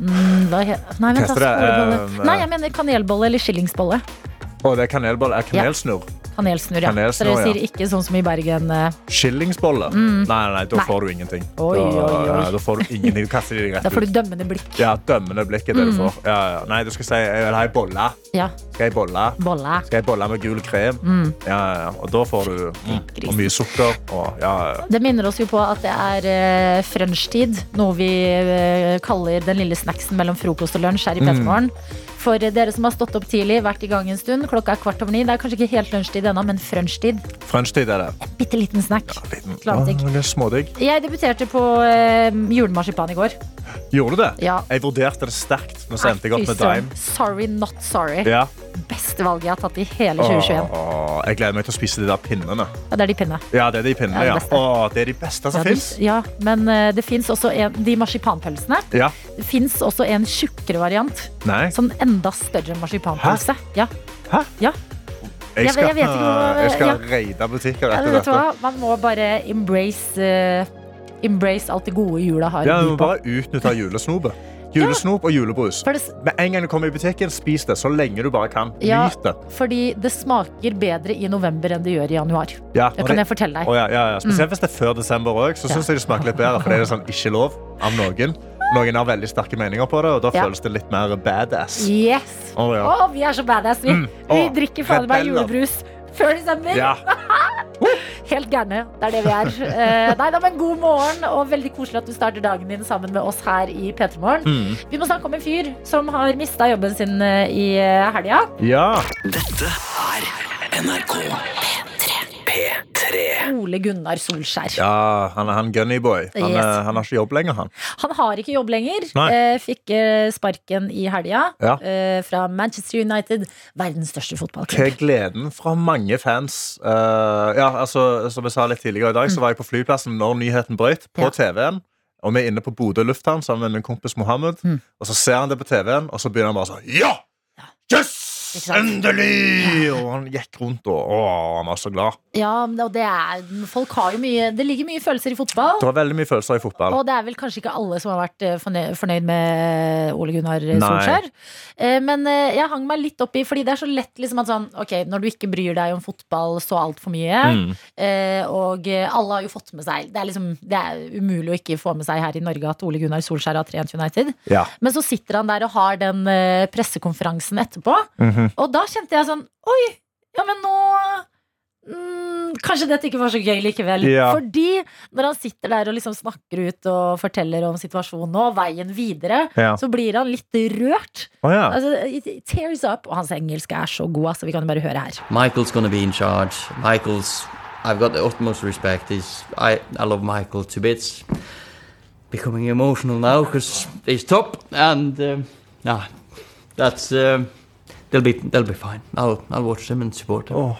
S2: mm, hva he- Nei, vent, da.
S3: Hva heter det?
S2: Skolebolle.
S3: Eh,
S2: Nei, jeg mener kanelbolle eller skillingsbolle.
S3: Og det er kanelbolle. Er kanelsnurr?
S2: Kanelsnurr, ja. Så
S3: Kanelsnurr,
S2: dere
S3: ja.
S2: sier ikke sånn som i Bergen. eh,
S3: Skillingsbolle? Nei, nei, nei, da
S2: Mm. Nei.
S3: får du ingenting.
S2: Oi,
S3: da,
S2: oi, oi.
S3: ja, da får du ingenting. Du kaster de rett
S2: Da får
S3: ut.
S2: du Mm. dømmende blikk.
S3: Ja, dømmende blikk er det du får. Ja, ja. Nei, du skal si jeg vil ha ei bolle.
S2: Ja,
S3: Skal jeg bolle?
S2: bolle.
S3: Skal jeg bolle med gul krem?
S2: Mm.
S3: Ja, ja, ja. Og da får du mm, og mye sukker. Og, ja, ja.
S2: Det minner oss jo på at det er eh, frunchtid, noe vi eh, kaller den lille snacksen mellom frokost og lunsj her
S3: Mm.
S2: i Petermorgen. For eh, dere som har stått opp tidlig, vært i gang en stund, klokka er kvart over ni. Det er kanskje ikke helt lunsjtid ennå, men frunchtid.
S3: Frenchtid er det.
S2: Bitte liten snack.
S3: Liten.
S2: Klart digg.
S3: Å, det er Smådigg.
S2: Jeg debuterte på eh, julemarsipan i går.
S3: Gjorde du det?
S2: Ja.
S3: Jeg vurderte det sterkt, men så endte jeg opp
S2: Fy
S3: med
S2: søren.
S3: Dime.
S2: Sorry, not sorry.
S3: Ja.
S2: Beste valget jeg har tatt i hele 2021.
S3: Åh, jeg gleder meg til å spise de der pinnene.
S2: Ja, det er de pinne.
S3: Ja, det er de pinnene,
S2: Ja,
S3: ja.
S2: det beste.
S3: Åh, det er de beste som
S2: Ja, de-
S3: fins.
S2: Ja, men eh, det fins også en, de marsipanpølsene.
S3: Ja.
S2: Det fins også en tjukkere variant.
S3: Nei.
S2: Sånn enda større marsipanpølse. Ja.
S3: Jeg
S2: Jeg vet-
S3: skal, eh,
S2: jeg vet ikke hva-
S3: jeg skal raide butikker
S2: Ja, men
S3: etter
S2: vet du
S3: dette.
S2: hva? Man må bare embrace, eh, embrace alt det gode jula har. å
S3: Ja, vi
S2: by
S3: må
S2: på.
S3: bare utnytte julesnopet. Julesnop og julebrus.
S2: For det, s-
S3: Med en gang du kommer i butikken, spis det så lenge du bare kan.
S2: Ja.
S3: Nyt det.
S2: fordi det smaker bedre i november enn det gjør i januar.
S3: Ja,
S2: Det
S3: og
S2: kan
S3: det-
S2: jeg fortelle deg.
S3: Å, ja, ja, ja. Spesielt
S2: Mm.
S3: hvis det er før desember òg, så syns jeg det smaker litt bedre. For det er sånn ikke lov av noen. Noen har veldig sterke meninger på det, og da
S2: Ja.
S3: føles det litt mer badass.
S2: Yes!
S3: Å,
S2: Å,
S3: ja. Mm.
S2: vi er så badass, vi. Vi
S3: Å,
S2: drikker fader meg
S3: rebeller.
S2: julebrus før desember.
S3: Ja.
S2: Helt gærne. Det er det vi er. Eh, nei da, men god morgen, og veldig koselig at du starter dagen din sammen med oss her i P3 Morgen.
S3: Mm.
S2: Vi må snakke om en fyr som har mista jobben sin eh, i eh, helga.
S3: ja.
S2: Ole Gunnar Solskjær.
S3: ja han er han Gunnyboy. Han,
S2: Yes.
S3: er- han har ikke jobb lenger, han.
S2: Han har ikke jobb lenger.
S3: Nei.
S2: Eh, fikk eh, sparken i helga
S3: Ja.
S2: eh, fra Manchester United, verdens største
S3: Til
S2: fotballklubb.
S3: gleden fra mange fans. Eh, ja, altså, som jeg sa litt tidligere i dag, så var jeg på flyplassen når nyheten brøt, på
S2: Ja.
S3: TV-en. Og vi er inne på Bodø
S2: Mm.
S3: lufthavn sammen med min kompis Mohammed. Og så ser han det på TV-en, og så begynner han bare sånn Ja! Yes!
S2: Ikke sant?
S3: Endelig! Og han gikk rundt og å, han var så glad.
S2: Ja, men- og det er Folk har jo mye Det ligger mye følelser i fotball.
S3: Det var veldig mye følelser i fotball.
S2: Og det er vel kanskje ikke alle som har vært eh, fornøy- fornøyd med eh, Ole Gunnar
S3: Nei.
S2: Solskjær. Eh, Men eh, jeg hang meg litt opp i, fordi det er så lett liksom at sånn Ok, når du ikke bryr deg om fotball så altfor mye,
S3: Mm.
S2: eh, og eh, alle har jo fått med seg Det er liksom Det er umulig å ikke få med seg her i Norge at Ole Gunnar Solskjær har trent United.
S3: Ja.
S2: Men så sitter han der og har den eh, pressekonferansen etterpå.
S3: Mhm.
S2: Og da kjente jeg sånn Oi, ja, men nå mm, Kanskje dette ikke var så gøy likevel.
S3: Ja.
S2: Fordi når han sitter der og liksom snakker ut og forteller om situasjonen og veien videre,
S3: Ja.
S2: så blir han litt rørt.
S3: Å, ja.
S2: Altså, it it tears up. Og hans engelsk er så god, altså. Vi kan jo bare høre her.
S10: Michael's going to be in charge. Michael's, I've got the utmost respect. He's, I, I love Michael to bits. Becoming emotional now because he's top, and um, nah, that's um, they'll be they'll be fine. I'll I'll watch them and support them.
S2: Ja,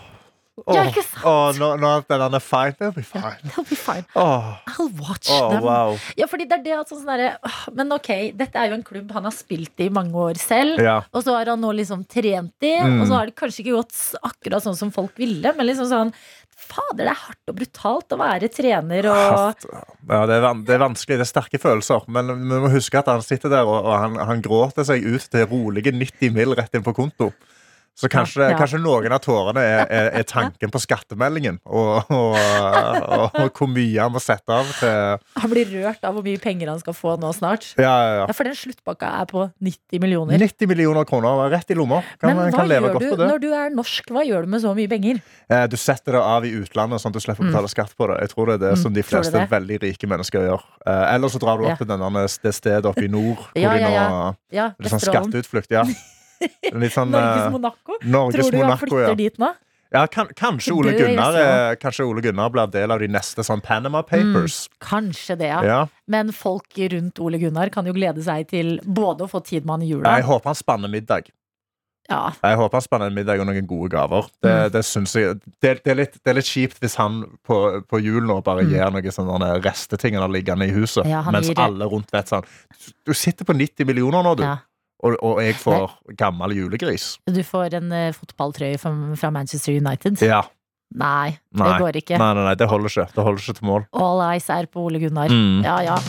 S2: Altså, ikke sant?
S3: Å, nå, nå er den er fine. They'll be fine.
S2: They'll be fine.
S3: Åh,
S2: I'll watch
S3: åh,
S2: them.
S3: wow.
S2: Ja, fordi det er det at sånn sånn derre, «Åh, Men ok, dette er jo en klubb han har spilt i i mange år selv.
S3: Ja. Mm.
S2: Og så har han nå liksom trent i, og så har det kanskje ikke gått s- akkurat sånn som folk ville, men liksom sånn Fader, det er hardt og brutalt å være trener og
S3: Hatt. Ja, det, er van det er vanskelig, det er sterke følelser. Men vi må huske at han sitter der og, og han, han gråter seg ut til rolige 90 mil rett inn på konto. Så kanskje,
S2: Ja.
S3: kanskje noen av tårene er, er, er tanken på skattemeldingen. Og, og, og, og hvor mye han må sette av til
S2: Han blir rørt av hvor mye penger han skal få nå snart.
S3: Ja, ja,
S2: Ja, For den sluttpakka er på 90
S3: ja.
S2: millioner.
S3: 90 millioner kroner rett i lomma. Kan,
S2: Men hva
S3: kan leve
S2: gjør
S3: godt
S2: du
S3: på det.
S2: når du er norsk? Hva gjør du med så mye penger?
S3: Eh, Du setter det av i utlandet, sånn at du slipper å betale skatt på det. Jeg tror det er det som de
S2: Mm. tror du
S3: fleste
S2: det?
S3: veldig rike mennesker gjør. Eh, Eller så drar du opp
S2: Ja.
S3: til denne, det stedet oppe i nord hvor
S2: Ja, ja,
S3: de nå
S2: ja. Ja,
S3: Litt sånn
S2: Vesterålen.
S3: skatteutflukt, ja. Litt sånn
S2: Norges
S3: eh,
S2: Monaco?
S3: Norges
S2: Tror du han
S3: Monaco,
S2: flytter
S3: ja.
S2: dit nå?
S3: ja kan, kanskje,
S2: Til
S3: Ole
S2: Bø i
S3: Gunnar,
S2: Vesterålen.
S3: eh, kanskje Ole Gunnar blir del av de neste sånn Panama Papers.
S2: Kanskje det, ja.
S3: Ja.
S2: Men folk rundt Ole Gunnar kan jo glede seg til både å få tid med han i jula
S3: Jeg håper han spanner middag.
S2: ja.
S3: Jeg håper han spanner en middag og noen gode gaver. Det,
S2: Mm.
S3: det, synes jeg, det, det, er litt, det er litt kjipt hvis han på, på jul nå bare gir noen sånne resteting han har liggende i huset,
S2: Mm. Ja, han
S3: mens
S2: gir-
S3: alle rundt vet sånn Du sitter på 90 millioner nå, du,
S2: Ja.
S3: og, og jeg får gammel julegris.
S2: Du får en eh, fotballtrøye fra, fra Manchester United.
S3: Ja.
S2: Nei, det
S3: Nei.
S2: går ikke.
S3: Nei, nei, nei, det holder ikke. Det holder ikke til mål.
S2: All eyes er på Ole Gunnar.
S3: Mm.
S2: Ja, ja.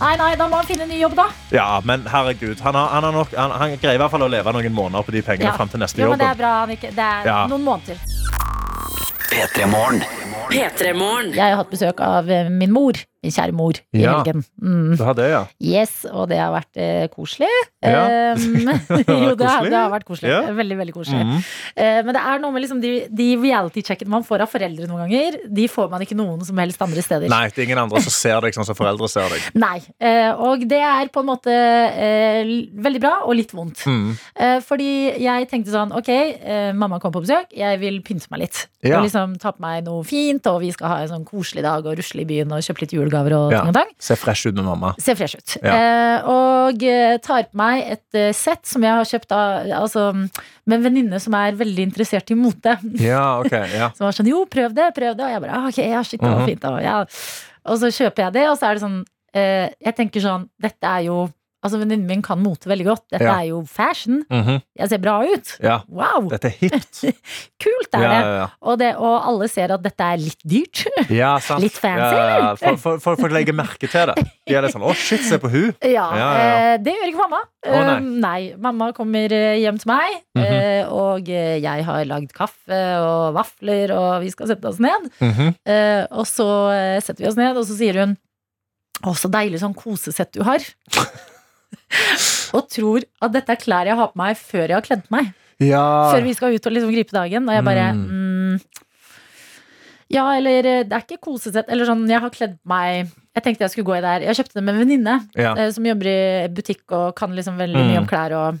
S2: Nei, nei, da må han finne en ny jobb, da.
S3: Ja, men herregud. Han, har, han, har nok, han, han greier i hvert fall å leve noen måneder på de pengene
S2: Ja.
S3: frem til neste
S2: Jo,
S3: jobb.
S2: men det er bra. han ikke- Det er
S3: Ja.
S2: noen måneder.
S4: P3-morgen.
S2: Jeg har hatt besøk av eh, min mor. Min kjære mor. I
S3: Ja.
S2: helgen. Mm.
S3: Du har det, ja.
S2: Yes, og det har vært eh, koselig.
S3: Ja.
S2: Eh, jo, det har,
S3: Koselig?
S2: det har vært koselig.
S3: Ja.
S2: Veldig, veldig koselig.
S3: Mhm.
S2: Eh, men det er noe med liksom de, de reality-checkene man får av foreldre noen ganger, de får man ikke noen som helst andre steder.
S3: Nei, det er ingen andre som ser deg sånn som foreldre ser deg.
S2: Nei. Eh, og det er på en måte eh, l- veldig bra og litt vondt.
S3: Mm.
S2: Eh, fordi jeg tenkte sånn, ok, eh, mamma kom på besøk, jeg vil pynte meg litt.
S3: Ja.
S2: Og liksom ta på meg noe fint, og vi skal ha en sånn koselig dag og rusle i byen og kjøpe litt julegaver og
S3: Ja.
S2: ting og tang.
S3: Ser fresh ut med mamma.
S2: Ser fresh ut.
S3: Ja.
S2: Eh, og eh, tar på meg et eh, sett som jeg har kjøpt av, altså, med en venninne som er veldig interessert i mote.
S3: Ja, ok. Ja.
S2: Som var sånn, jo, prøv det, prøv det. Og jeg bare, ah, ok, ja, shit, det var
S3: Mhm.
S2: fint. Og, ja. og så kjøper jeg det, og så er det sånn, eh, jeg tenker sånn, dette er jo, altså venninnen min kan mote veldig godt. Dette
S3: Ja.
S2: er jo fashion.
S3: Mhm.
S2: Jeg ser bra ut.
S3: ja.
S2: Wow,
S3: Dette er hipt.
S2: kult er
S3: Ja,
S2: det.
S3: ja, ja.
S2: Og, det. og alle ser at dette er litt dyrt.
S3: ja, sant.
S2: Litt fancy,
S3: Ja, ja, ja. For, for, for, for å legge merke til det. De er litt sånn 'Å, shit, se på hun'.
S2: Ja,
S3: Ja, ja,
S2: Eh, det gjør ikke mamma.
S3: Å, nei. Mhm.
S2: Eh, nei, mamma kommer eh, hjem til meg, eh, og eh, jeg har lagd kaffe og vafler, og vi skal sette oss ned.
S3: Mhm.
S2: Eh, og så eh, setter vi oss ned, og så sier hun Å, så deilig sånn kosesett du har. og tror at dette er klær jeg har på meg før jeg har kledd på meg.
S3: Ja.
S2: Før vi skal ut og liksom gripe dagen. Og jeg bare mm. Ja, eller eh, det er ikke kosesett. Eller sånn, jeg har kledd på meg Jeg tenkte jeg skulle gå i der. Jeg kjøpte det med en venninne
S3: ja.
S2: eh, som jobber i butikk og kan liksom veldig
S3: Mm.
S2: mye om klær og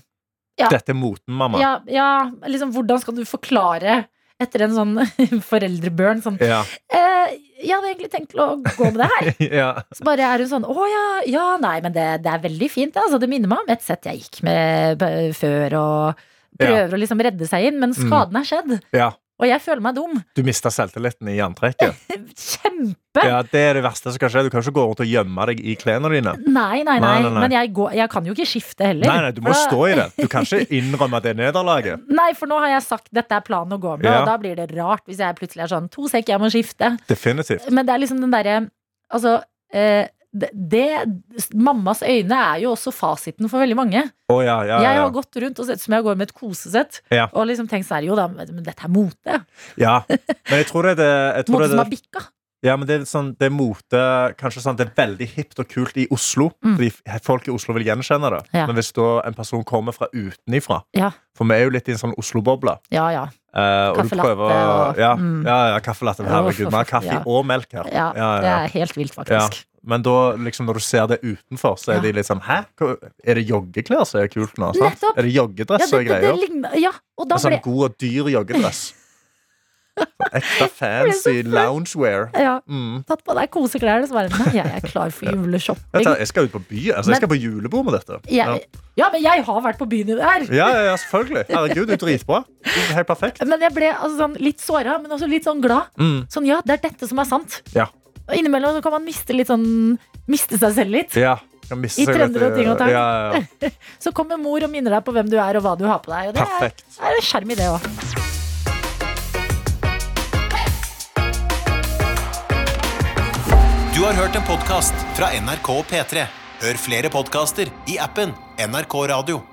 S3: Dette er moten, mamma.
S2: ja, ja, liksom hvordan skal du forklare etter en sånn foreldreburn sånn
S3: Ja.
S2: eh, Jeg hadde egentlig tenkt til å gå med det her.
S3: ja.
S2: Så bare er hun sånn Å ja, ja, nei, men det, det er veldig fint. Altså, det minner meg om et sett
S3: Mm.
S2: jeg gikk med b- før og prøver å liksom redde seg inn, men skaden er skjedd.
S3: ja.
S2: Og jeg føler meg dum.
S3: Du mista selvtilliten i antrekket.
S2: Kjempe!
S3: Ja, Det er det verste som kan skje. Du kan ikke gå rundt og gjemme deg i klærne dine.
S2: Nei, nei, nei,
S3: Nei, nei, nei.
S2: men jeg, går, jeg kan jo ikke skifte heller.
S3: Nei, nei, Du må
S2: For da-
S3: stå i det. Du kan ikke innrømme det nederlaget.
S2: Nei, for nå har jeg sagt dette er planen å gå med,
S3: Ja.
S2: og da blir det rart hvis jeg plutselig er sånn to sekk, jeg må skifte.
S3: Definitivt.
S2: Men det er liksom den derre Altså, eh, det, det Mammas øyne er jo også fasiten for veldig mange.
S3: Å ja, ja, ja,
S2: Jeg har
S3: ja.
S2: gått rundt og sett som jeg går med et kosesett,
S3: Ja.
S2: og liksom tenkt sånn her, jo da, men dette er mote.
S3: ja. Men jeg tror det er det, jeg tror
S2: Mote
S3: det,
S2: som
S3: er
S2: har
S3: det,
S2: bikka.
S3: ja, men det er sånn, det er mote Kanskje sånn, det er veldig hipt og kult i Oslo.
S2: Mm.
S3: Fordi f- folk i Oslo vil gjenkjenne det.
S2: Ja.
S3: Men hvis da en person kommer fra utenifra
S2: Ja,
S3: For vi er jo litt i en sånn Oslo-boble.
S2: ja, ja.
S3: eh, og du
S2: Kaffelatte
S3: prøver
S2: og-
S3: Ja,
S2: mm.
S3: ja, ja kaffelatte. men Herregud, vi har kaffe
S2: Ja.
S3: og melk her.
S2: ja,
S3: Ja,
S2: Det
S3: ja.
S2: er helt vilt,
S3: Ja.
S2: faktisk.
S3: Men da, liksom, når du ser det utenfor, så er
S2: Ja.
S3: de litt sånn Hæ? Hva- Er det joggeklær som er kult nå? Sant?
S2: Nettopp.
S3: Er det
S2: Ja,
S3: joggedress som
S2: det, det,
S3: er
S2: det
S3: greia?
S2: ligner, ja, og da
S3: En
S2: ble
S3: sånn god og dyr joggedress. Sånn Ekte fancy loungewear.
S2: ja,
S3: Mm.
S2: tatt på deg koseklær, og så bare nei, jeg er klar for juleshopping.
S3: Dette, jeg skal ut på by. Altså,
S2: Men-
S3: jeg skal på julebord med dette. Ja.
S2: Jeg, ja, men jeg har vært på byen i det her.
S3: Ja, ja, ja, selvfølgelig. Herregud, du er dritbra. Du er Helt perfekt.
S2: Men jeg ble altså, sånn, litt såra, men også litt sånn glad.
S3: Mm.
S2: Sånn, ja, det er dette som er sant.
S3: Ja.
S2: Og innimellom så kan man miste litt sånn Miste seg selv litt.
S3: Ja. Kan miste
S2: I
S3: seg litt
S2: trender og ting og tang.
S3: Ja, ja, ja.
S2: Så kommer mor og minner deg på hvem du er og hva du har på deg. Og det er,
S3: Perfekt.
S2: er en skjerm i det òg.
S11: Du har hørt en podcast fra NRK P3. Hør flere podcaster i appen NRK Radio.